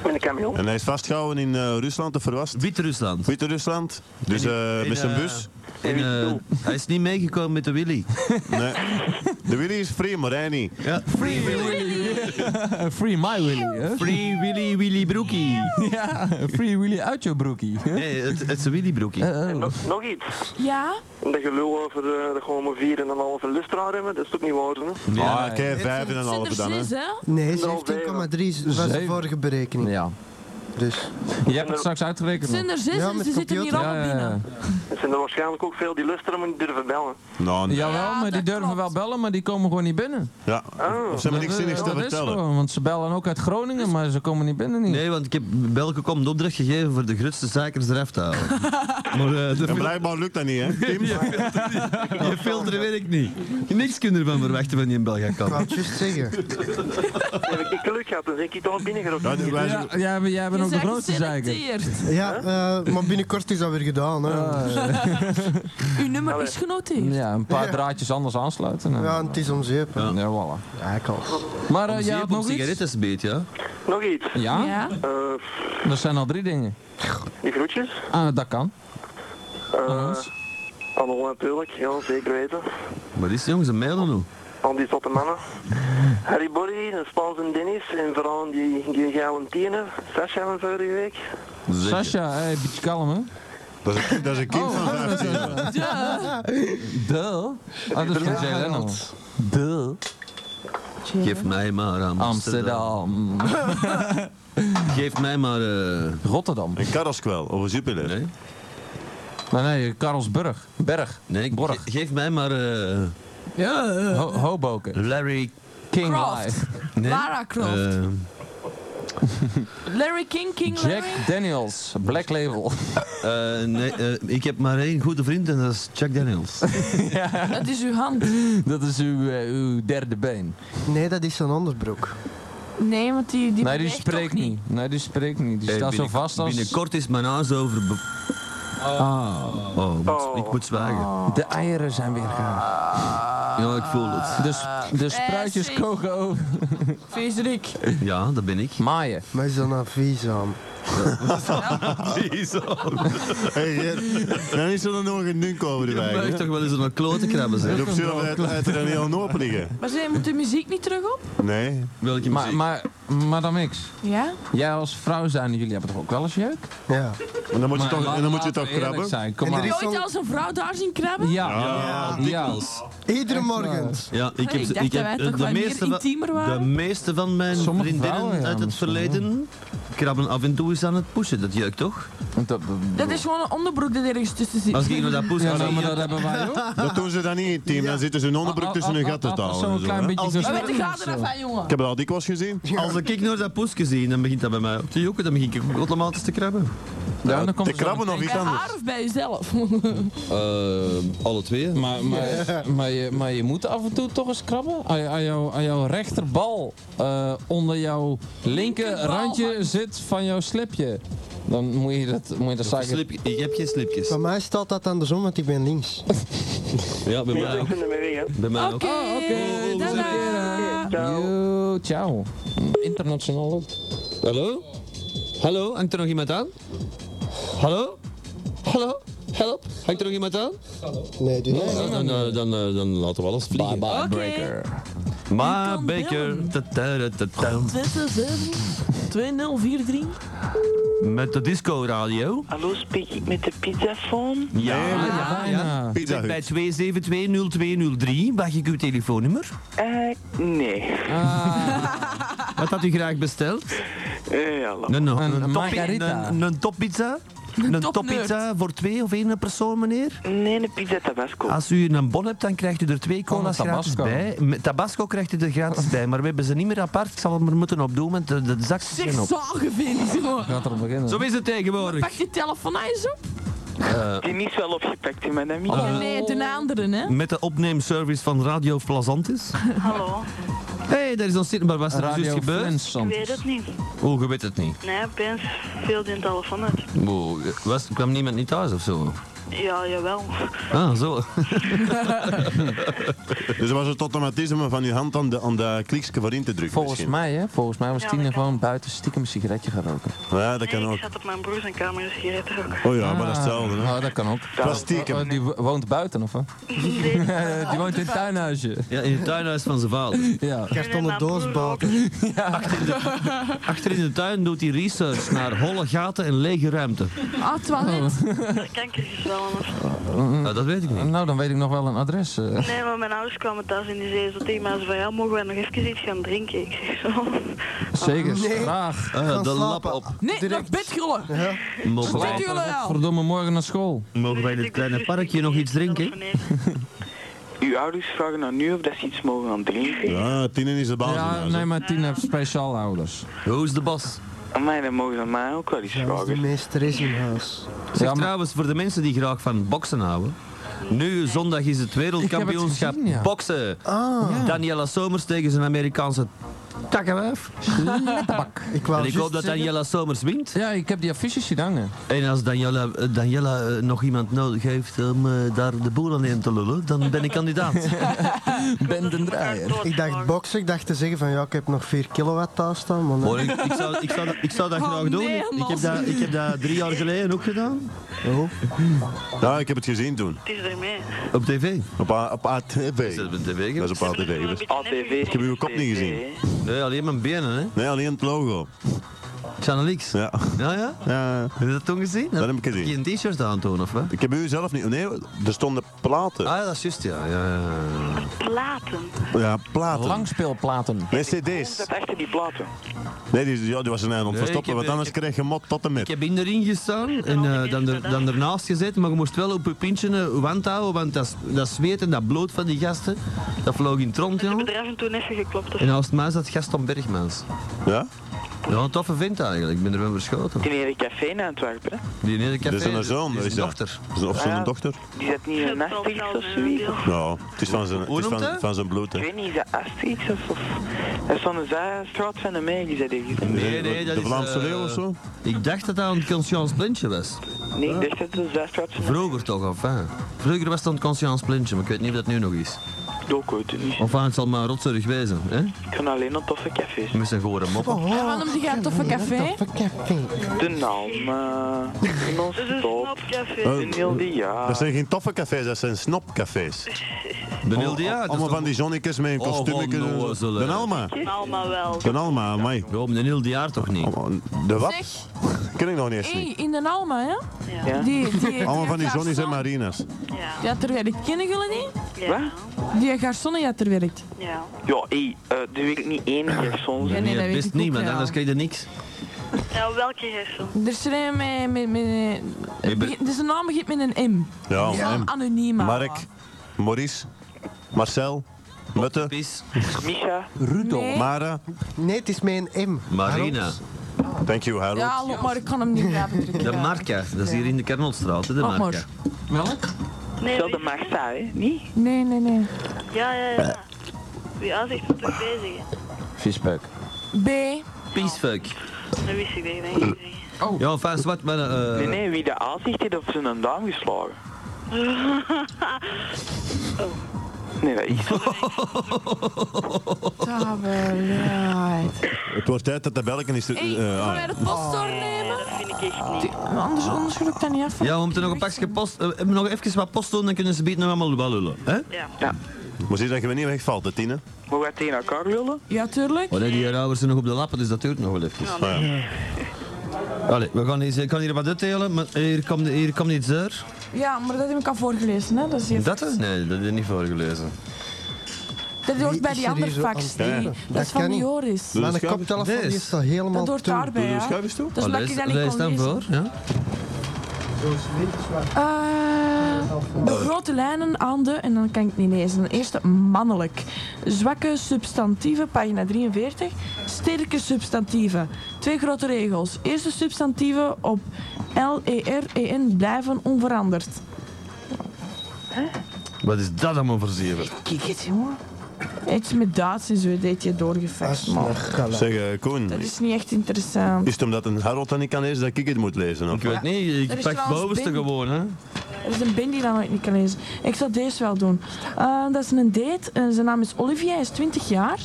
Met een camion.
En hij is vastgehouden in eh, Rusland, of verwast?
Wit-Rusland.
Wit-Rusland. Dus eh,
in,
met zijn
eh,
bus.
En eh, hij is niet meegekomen met de Willy.
Nee. De Willy is free, maar hij niet.
Ja.
Free Willy. Free my Willy, hè?
Free Willy Willy Broekie.
Ja, Free Willy uit jouw broekie.
Nee, het, het is een Willy Broekie.
Nog, nog iets.
Ja?
Dat gelul over eh, dat gewoon maar vier en een halve lustra hebben, dat is toch niet waar, hè?
Ah, oké, vijf en een
Het
halve
zijn
dan, hè.
er zes, hè?
Nee, 17,3 was de
Zeven.
vorige berekening.
Ja.
Dus.
Je hebt het straks uitgerekend.
Het zijn
nog.
er zes
Ja,
en
met
ze zitten hier
computer.
Ja,
allemaal
ja, ja.
binnen.
Er zijn er waarschijnlijk ook veel die lusteren, maar niet durven bellen.
Nou, nee.
Jawel,
Ja,
maar die
dat
durven
klopt.
wel bellen, maar die komen gewoon niet binnen.
Ja. Of ze hebben niks zinnigs te
dat is
vertellen.
gewoon, want ze bellen ook uit
Dus-
Groningen, maar ze komen niet binnen. Niet.
Nee, want ik heb Belke kom de opdracht gegeven voor de grootste zeikers eraf te halen. maar eh, de
En
fil-
blijkbaar lukt dat niet, hè? Tim?
die filter werkt niet. Niks kunnen ervan verwachten van die in België
Ik wou
kan.
het juist zeggen.
Heb ik niet geluk gehad, dan ben ik toch binnengeroepen.
Ja, die- wij-
Ja, jij, bent- jij bent
Je
ook de
bent
grootste zeiker.
geselecteerd.
Ja, eh, maar binnenkort is dat weer gedaan. Hè.
Uw nummer is genoteerd.
Ja, een paar draadjes anders aansluiten. en-
Ja, en het is om zeep. hè.
Ja, voilà.
Ja, ik al.
Maar eh, jij
Zeep
had
op
nog iets?
sigarettenbeet, ja.
Nog iets.
Ja?
Ja?
Eh,
dat zijn al drie dingen.
die groetjes.
Ah, dat kan. Anders?
Hallo, natuurlijk. Ja, zeker weten.
Wat is het, jongens? Een mail nu?
Al die zotte mannen. Harry Borgi, een Spaans en Dennis. En vooral die, die Galentine. Sascha van vorige week.
Dus
Sascha, hey, beetje kalm, hè?
Dat is, een kind
Oh.
van 15.
Ja.
Duh. Ah, dat is van Jay Leno. Duh.
Geef mij maar eh, Amsterdam.
Amsterdam.
Geef mij maar... eh,
Rotterdam.
Een Karaskwel of een Jupiler. Nee.
Nee, nee, Karlsburg. Berg.
Nee, Borg. geef mij maar... eh,
Ja. Hoboken.
Larry...
King
Croft.
Live.
Nee?
Lara Croft.
eh,
Larry King, King
Jack
Larry.
Daniels, Black Label.
eh, nee, eh, ik heb maar één goede vriend en dat is Chuck Daniels.
Dat is uw hand.
Dat is uw, eh, uw derde been.
Nee, dat is een ander broek.
Nee, want die, die
nee, die
beweegt
spreekt
toch
niet. Nee, die spreekt niet. Die
Hey,
staat
Eh, binnen-
zo vast als...
Binnenkort is mijn huis over... be- Ah. Oh, ik moet- ik moet zwijgen.
De eieren zijn weer gaar.
Ja, ik voel het.
De, sp- de spruitjes
Eh, zie.
koken over.
Viezerik.
Ja, dat ben ik.
Maaien.
Maar is dat nou vies aan?
Hey, Ger, dan is er nog een dunk over de
Ik
wijk.
buig toch wel eens een klote krabben, zeg.
Je op zullen uit uit er niet aan open liggen.
Maar ze moet de muziek niet terug op?
Nee.
Welke
Maar,
muziek?
maar, maar dan niks.
Ja?
Jij als vrouw zijn, jullie hebben toch ook wel eens jeuk?
Ja.
Maar dan moet je
Maar
toch,
laat-
en dan moet je
laten
toch
we eerlijk
krabben. Ah,
Zijn. Kom
En er
maar.
is-
Nooit
zal-
als een vrouw daar zien krabben?
Ja.
Ja,
dikwijls.
Iedere morgen.
Ja, ik
Nee,
heb,
ik
ze-
dacht
ik heb
dat wij
eh,
toch
de,
wel
meeste
meer
van-
intiemer waren?
de meeste van mijn
Sommige
vriendinnen
vrouwen, ja,
uit het
misschien
verleden krabben af en toe eens aan het poesen. Dat jeukt toch?
Dat,
Dat is gewoon een onderbroek dat ergens tussen zit.
Als ik naar dat poesen
ja,
ga,
nou, maar
dan-
dat hebben wij ook.
Dat doen ze dan niet in het team. Dan zitten ze hun onderbroek tussen hun gaten te houden. en
Zo'n
zo,
klein
hè.
beetje
Maar met de
versnellen of
gaten
zo.
eraf, hè, jongen.
Ik heb dat al dikwijls gezien.
Als ik naar dat poesje zie, dan begint dat bij mij op te joeken. Dan begin ik ook automatisch te krabben.
Ja, dan komt
Te
het zo
krabben of
meteen.
iets
Bij
anders.
haar of bij jezelf?
Oh,
Eh, alle twee?
Maar, maar, maar, je, maar je moet af en toe toch eens krabben. Aan, aan, jouw, aan jouw rechterbal eh, onder jouw linker
Linkerbal,
randje
man.
zit van jouw slipje. Dan moet je dat, moet je dat zaken.
Slip, ik heb geen slipjes.
Bij mij staat dat andersom, want ik ben links.
Ja, bij mij
Ik
ook.
ben er mee weg, hè.
Bij mij ook.
Oké,
Oh,
dada.
Yo, ciao. Internationaal ook.
Hallo? Hallo? Hangt er nog iemand aan? Hallo? Hallo? Help? Hangt er nog iemand aan?
Nee, doe dat.
Dan, dan, dan, eh, dan laten we alles vliegen.
bye,
Oké.
Maar
kan
Baker,
bellen.
ta- ta- ta- ta-
2043.
met de disco radio.
Hallo, spreek ik met de pizzafoon?
Ja,
Ja, bijna.
Pizza
Bij
Hut.
2720203 mag ik uw telefoonnummer.
Eh, nee.
Wat had u graag besteld?
Eh, ja, laat.
Een, een,
Een
een, toppie-
margarita.
een, een toppizza. Een
topnerd.
toppizza voor twee of één persoon, meneer.
Nee, een pizza tabasco.
Als u een bon hebt, dan krijgt u er twee cola's
Van de
gratis
Tabasco.
bij. Met tabasco krijgt u er gratis bij, maar we hebben ze niet meer apart. Ik zal hem er moeten opdoen, want de, de zakjes
Zeg,
zijn op.
zagen vind ik, jongen.
Gaat erop beginnen.
Zo is het tegenwoordig.
Pak je telefoon aan eens
Oh.
op.
Die is wel opgepakt in mijn ami.
Oh nee, de andere, hè.
Met de opneemservice van Radio Plazantis.
Hallo,
Hé, hey, daar is ons zitten, maar wat is er
Radio
juist gebeurd?
Flens
ik
Santos.
weet het niet.
Oh, je weet het niet.
Nee, Pens viel die telefoon uit.
Wow, was, kwam niemand niet thuis of zo?
Ja, jawel.
Ah, zo.
Dus was het automatisme van je hand aan de, aan de kliksje voor in te drukken
Volgens
misschien.
mij, hè? Volgens mij was
Ja,
Tine
dat kan.
gewoon buiten stiekem een sigaretje gaan roken.
Ja, dat kan
Nee,
ook.
ik zat op mijn broer zijn kamer, dus hier heet er ook.
Oh ja, maar dat is hetzelfde. hè.
Ah, dat kan ook.
Plastiek.
Oh, die wo- woont buiten, of? hè?
Nee, nee,
Eh, Die woont in het tuinhuisje.
Ja, in het tuinhuis van zijn vader.
Ja.
Kartonnen
mijn broer
doosbalken.
ook.
Achter in de tuin doet hij research naar holle gaten en lege ruimte.
Ah, toilet.
Er Kanker is wel anders.
Nou, dat weet ik niet.
Nou, dan weet ik nog wel een adres. eh.
Nee, maar mijn ouders kwamen thuis en die zeiden zo tegen mij, ze van ja, mogen wij nog even iets gaan drinken? Ik zeg zo,
Zeker,
Nee.
graag.
Ah,
Gaan
de lap
slapen.
op.
Nee, naar bed gullen.
Mogen wij,
Zit jullie al?
Eh, Verdomme, morgen naar school.
mogen
Dus
wij in het kleine parkje nog iets drinken?
Telefoneren.
Uw ouders vragen nou nu of dat ze iets mogen gaan drinken.
Ja, Tine is de baas. in
Ja,
huis, hè.
nee, maar Tien heeft speciaal ouders.
Hoe is de bas?
Ah, Maar dan mogen ze aan mij ook wel iets
Dat is de
vragen.
meester is in huis.
Zeg
Ja, maar-
trouwens, voor de mensen die graag van boksen houden. Nu, zondag is het
Ik heb
wereldkampioenschap
het gezien, ja.
boksen.
Ah,
Daniela Somers tegen zijn Amerikaanse Takkenwijf.
Letterbak.
Ik
En ik hoop dat Daniela Somers wint.
Ja, ik heb die affiches zien hangen.
En als Daniela, eh, Daniela eh, nog iemand nodig heeft om eh, daar de boel aan in te lullen, dan ben ik kandidaat.
ben den draaier.
Ik dacht boksen, ik dacht te zeggen van ja, ik heb nog 4 kilowatt thuis staan. Maar nee.
Oh, ik, ik, zou, ik, zou, dat- ik zou dat
Oh,
graag
nee,
doen. ik,
man.
heb dat, ik heb dat drie jaar geleden ook gedaan.
Ja, ik heb het gezien toen.
Het is ermee.
Op tv?
Op, A- op ATV. Is
dat op tv
Dat is op ATV geweest. Ik heb uw kop niet gezien.
Nee, alleen mijn benen, hè?
Nee, alleen het logo.
Chanelix?
Ja.
Ja, ja?
ja.
Heb je dat toen gezien?
Dat heb ik gezien.
Je een t-shirt aan toen, of wat?
Ik heb u zelf niet... Nee, er stonden platen.
Ah, dat is juist, ja. ja,
Platen.
Ja, platen.
Langspeelplaten.
Nee, cd's.
Dat achter die platen.
Nee, die, ja, die was een eiland
Nee, ik
verstoppen,
heb,
want
eh,
anders kreeg je mot tot en
Ik
met.
heb in de ring gestaan en eh, dan, er, dan ernaast gezet, maar je moest wel op je pintje eh, wand houden, want dat, dat zweet en dat bloot van die gasten, dat vloog in het rond, jongen.
Er is toen even geklopt.
En naast mij zat Gaston Bergmans.
Ja?
Ja, een toffe vent eigenlijk. Ik ben er wel verschoten.
Die hele café in Antwerpen.
Die ene café,
Dat is een zoon,
die
is
is een
dat?
dochter.
Is een- Of
Ah,
zijn
ja.
dochter?
Die zat niet in een Asterix of zoiets. of-
Ja, het is van zijn, het is
noemt
van,
hij?
van zijn bloed, hè.
Ik weet niet, is dat Asterix of... of... Dat is van de zijstraat van de Meeg, is dat ergens.
Nee, nee, dat
de
is,
Vlaamse
eh,
leeuw of zo?
Ik dacht dat dat een Conscience Plintje was.
Nee, ik dacht dat het de zijstraat van de
Vroeger toch, of hè? Vroeger was dat een Conscience Plintje, maar ik weet niet of dat nu nog is.
Dook uit, niet.
Of ah, het zal maar een rotzorg wezen, hè?
Ik kan alleen naar toffe cafés.
Met zijn gore moppen.
En wat noemde jij een toffe café?
De naam, eh, in ons
Dus
top.
Oh.
Café.
De heel die ja.
Dat zijn geen toffe cafés, dat zijn snopcafés.
De Nildia, dat is
Allemaal
toch-
van die zonnetjes met een
Oh,
kostuum.
onnozel, hè.
De Alma.
Allemaal wel.
De Alma, amai.
Ja, maar de Nildia toch niet?
De wat?
Zeg,
Ken ik nog niet eens
hey,
niet.
in de Alma, hè?
Ja.
Die, die, die
Allemaal van die
garçon,
zonnies en marinas.
Die had er werkt. Kennen jullie niet?
Ja.
Die garçon die had er werkt.
Ja.
Ja, hé, eh er werkt niet één persoon.
Nee, nee, dat
Nee,
weet ik
best
ook
niet, want
wel.
anders krijg je niks.
Nou, welke hersen?
Er is er een met... met, met, het begint- dus de naam begint met een M.
Ja,
Zo
M.
anoniem.
Mark, Maurice, Marcel, Mutte,
Pis.
Misha,
Rudolf. Nee.
Mara.
nee, het is mijn M.
Marina.
Thank you, Harold.
Ja, loop maar, ik kan hem niet blijven drukken.
De Marca. Dat is hier in de Kernelstraat, hè, de
Laat
Marca.
Welk?
Nee,
wel de
wie-
Marsa, hè? Niet?
Nee, nee, nee.
ja, ja, ja. Wie ah, aanzicht is toch bezig? hè?
Vispeuk.
B.
Peacefuck.
Dat wist ik denk ik niet.
Ja, enfin, zwart, maar... eh,
Nee, nee, wie de A zegt, heeft op zijn duim geslagen. Nee, dat is
Tabelheid.
Het wordt tijd dat de belken is... te-
Hey,
eh,
gaan
ah.
wij de post doornemen?
Dat vind ik echt niet.
Die- Anders, anders wil ik dat niet af.
Ja, we moeten nog een pakje post... eh, we hebben nog even wat post doen, dan kunnen ze beet nog allemaal wel lullen. Hè?
Ja.
Maar zie dat je me niet wegvalt, hè, Tine.
Mogen wij tegen elkaar willen?
Ja, tuurlijk.
Oh nee, die rouwers zijn nog op de lappen, dus dat duurt nog wel even.
Ah, ja.
Allee, we gaan eens, ik kan hier wat uitdelen, maar hier komt, hier komt iets uit.
Ja, maar dat heb ik al voorgelezen, hè. Dat, is hier-
Dat? hè? Nee, dat is niet voorgelezen.
dat hoort
Wie
bij
is
die
er
andere
hier zo
fax.
aan het
die-
Ja,
Dat
dat
is van
kan
die
niet. eh,
Joris.
Doe
Mijn
de schuif-
koptelefoon
Deze.
die staat helemaal
Dat hoort
toe.
daarbij,
Doe de
ja.
schuif eens toe.
Dus
Oh,
dat
lees-
ik dat niet
lees
kon
dan
lezen.
voor, ja?
Eh, de grote lijnen aan de, en dan kan ik het niet lezen. De eerste, mannelijk. Zwakke substantieven, pagina 43. Sterke substantieven. Twee grote regels. Eerste substantieven op E L-E-R-E-N blijven onveranderd.
Wat is dat allemaal voor zeven?
Kijk het, jongen. Iets met Duits en zo, deed je doorgevecht. man.
Zeg, eh, Koen.
Dat is niet echt interessant.
Is het omdat een Harold dat niet kan lezen, dat ik het moet lezen? Of?
Ik weet niet,
Er
ik
is
pak
trouwens
bovenste
binnen.
gewoon, hè?
Er is een band die dat nooit niet kan lezen. Ik zal deze wel doen. Eh, dat is een date. Eh, zijn naam is Olivier, hij is 20 jaar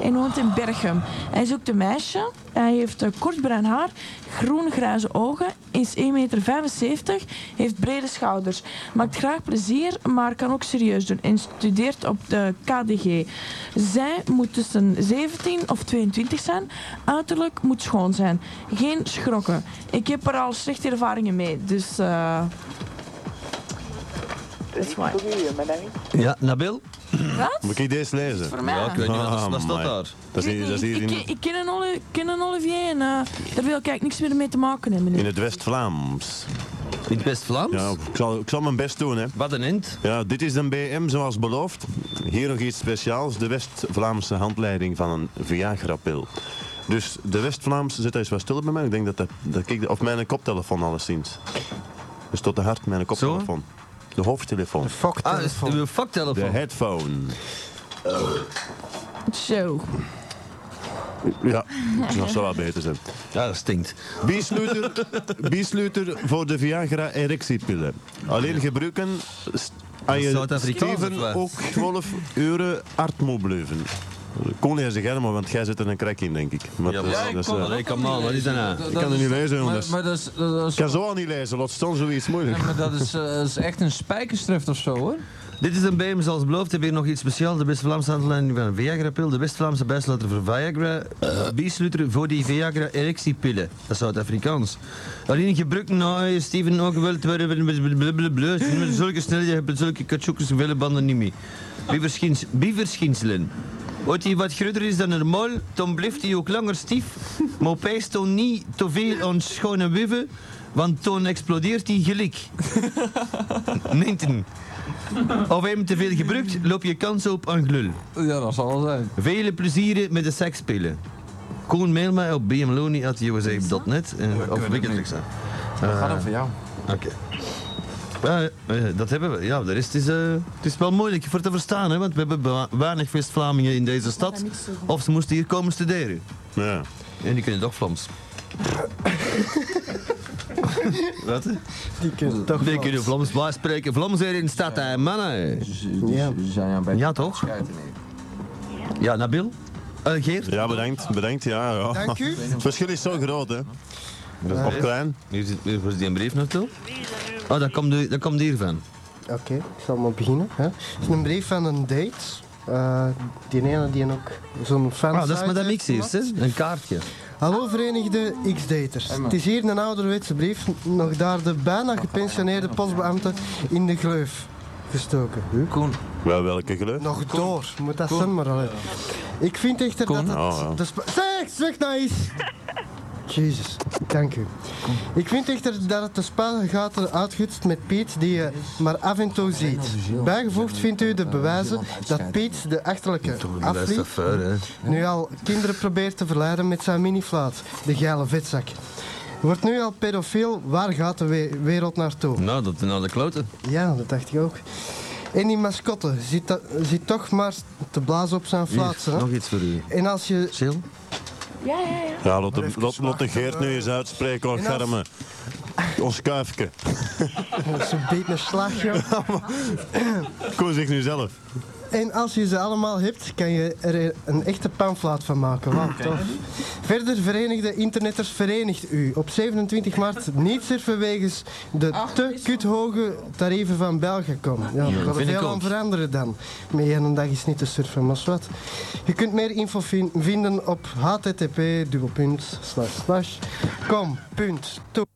en woont in Berchem. Hij zoekt een meisje. Hij heeft eh, kort bruin haar, groen-grijze ogen, is 1,75 meter, heeft brede schouders. Maakt graag plezier, maar kan ook serieus doen en studeert op de KDG. Zij moet tussen 17 of 22 zijn. Uiterlijk moet schoon zijn. Geen schrokken. Ik heb er al slechte ervaringen mee, dus... eh, dat is waar.
Ja, Nabil?
Wat?
Moet ik deze lezen? Ah,
Voor mij?
Ja, ik weet niet, wat is- wat staat
Amai.
daar?
Dat is, hier- dat is hier
ik, ik,
in,
ik ken een Oli- ik ken een Olivier en eh, daar wil ik eigenlijk niks meer mee te maken hebben. nu.
in het West-Vlaams.
In het West-Vlaams?
Ja, ik zal, ik zal mijn best doen, hè.
Wat een end.
Ja, dit is een BM zoals beloofd. Hier nog iets speciaals, de West-Vlaamse handleiding van een Viagra-pil. Dus de West-Vlaamse, zit daar eens wat stil bij mij. Ik denk dat, dat, dat ik, of mijn koptelefoon alleszins. Dus tot de hart, mijn koptelefoon. De hoofdtelefoon.
Ah, is
Foktelefoon.
uw
De
faktelefoon.
headphone.
Zo.
Ja, dat zou wel beter zijn.
Ja, dat stinkt.
Biesluiter, biesluiter voor de Viagra-erectiepillen. Alleen gebruiken st- aan je
Zuid-Afrikaans of
steven
wat?
ook 12 euro artmo blijven. Kon jij zeggen, maar want jij zit er een krek in, denk ik. Maar dat is- dat is, eh,
eh,
Ik kan het niet lezen, jongens.
Maar, maar dat is, dat is,
Ik kan zo al niet lezen, laat staan zoiets moeilijk.
maar dat is, eh, dat is echt een spijkerstrift of zo hoor.
Dit is een BM zoals beloofd. Heb ik nog iets speciaals? De West-Vlaamse handelaar van Viagra-pil. De West-Vlaamse bijsluiter voor Viagra. Uh. voor die Viagra-erectiepillen. Dat is Zuid-Afrikaans. Alleen gebruik nou, Steven, ook wel. Blablabla. Met zulke snelheid heb je zulke katjoekers vele banden niet meer. Bieverschins- Bieverschindselen. Ooit die wat groter is dan normaal, dan blijft hij ook langer stief. Maar pijst dan niet te veel aan schone wuffen, want toen explodeert hij gelijk. Ninten. Of hem te veel gebruikt, loop je kans op een glul.
Ja, dat zal wel zijn.
Vele plezieren met de sekspillen. Koen, mail mij op bmloni.usa.net. en- eh, Of ik het extra.
Dat gaat over jou.
Oké. Ja, eh, dat hebben we. Ja, de rest is, eh, het is wel moeilijk voor te verstaan, hè, want we hebben ba- weinig West-Vlamingen in deze stad. Of ze moesten hier komen studeren.
Ja.
En die kunnen toch Vlams. Wat? Die kunnen toch Die kunnen Vlams. Wij spreken Vlams hier in de stad, hè, mannen.
Ja.
Ja, toch? Ja, Nabil? Eh Geert?
Ja, bedankt. Bedankt, ja. ja.
Dank u.
Het verschil is zo groot, hè.
Ja.
Of klein.
Hier zit hier wordt die een brief naartoe. Oh, dat komt, hier- dat komt Ah, hiervan.
Oké, ik zal maar beginnen. Hè. Het is een brief van een date. Eh, die ene die ook zo'n fan
Ah, dat is Madame X eerst, hè? Een kaartje.
Hallo Verenigde X-Daters. Het is hier een ouderwetse brief, nog daar de bijna gepensioneerde postbeambte in de gleuf gestoken. Koen.
Wel, welke kleur?
Nog door, moet dat zijn maar alleen. Ik vind echter dat het...
Oh, ja.
de spa- zeg, zeg nou eens! Jezus, dank u. Ik vind echter dat het de spuigaten uitgutst met Piet die je maar af en toe ziet. Bijgevoegd vindt u
eh,
de bewijzen dat Piet de achterlijke afliep
hè?
eh,
nu al kinderen probeert te verleiden met zijn miniflaat, de geile vetzak. Wordt nu al pedofiel, waar gaat de we- wereld naartoe?
Nou, dat naar de kloten.
Ja, dat dacht ik ook. En die mascotte zit, da- zit toch maar te blazen op zijn
Hier,
plaats.
nog iets voor u.
En als je...
Chill.
Ja, ja, ja.
Ja, laat de, laat, laat de Geert nu eens uitspreken, hoor,
En als-
Germe. Ons kuifje.
Ze beet een slag, joh.
Koos ik nu zelf.
En als je ze allemaal hebt, kan je er een echte pamflaat van maken. Wauw, tof. Verder, Verenigde Internetters, verenigt u. Op 27 maart niet surfen wegens de te kuthoge tarieven van Belgacom. Ja,
Ja,
daar
vind
gaat er
ik
veel
ook.
aan veranderen dan. Met één dag is niet te surfen, maar wat. Je kunt meer info vin- vinden op http://com.to.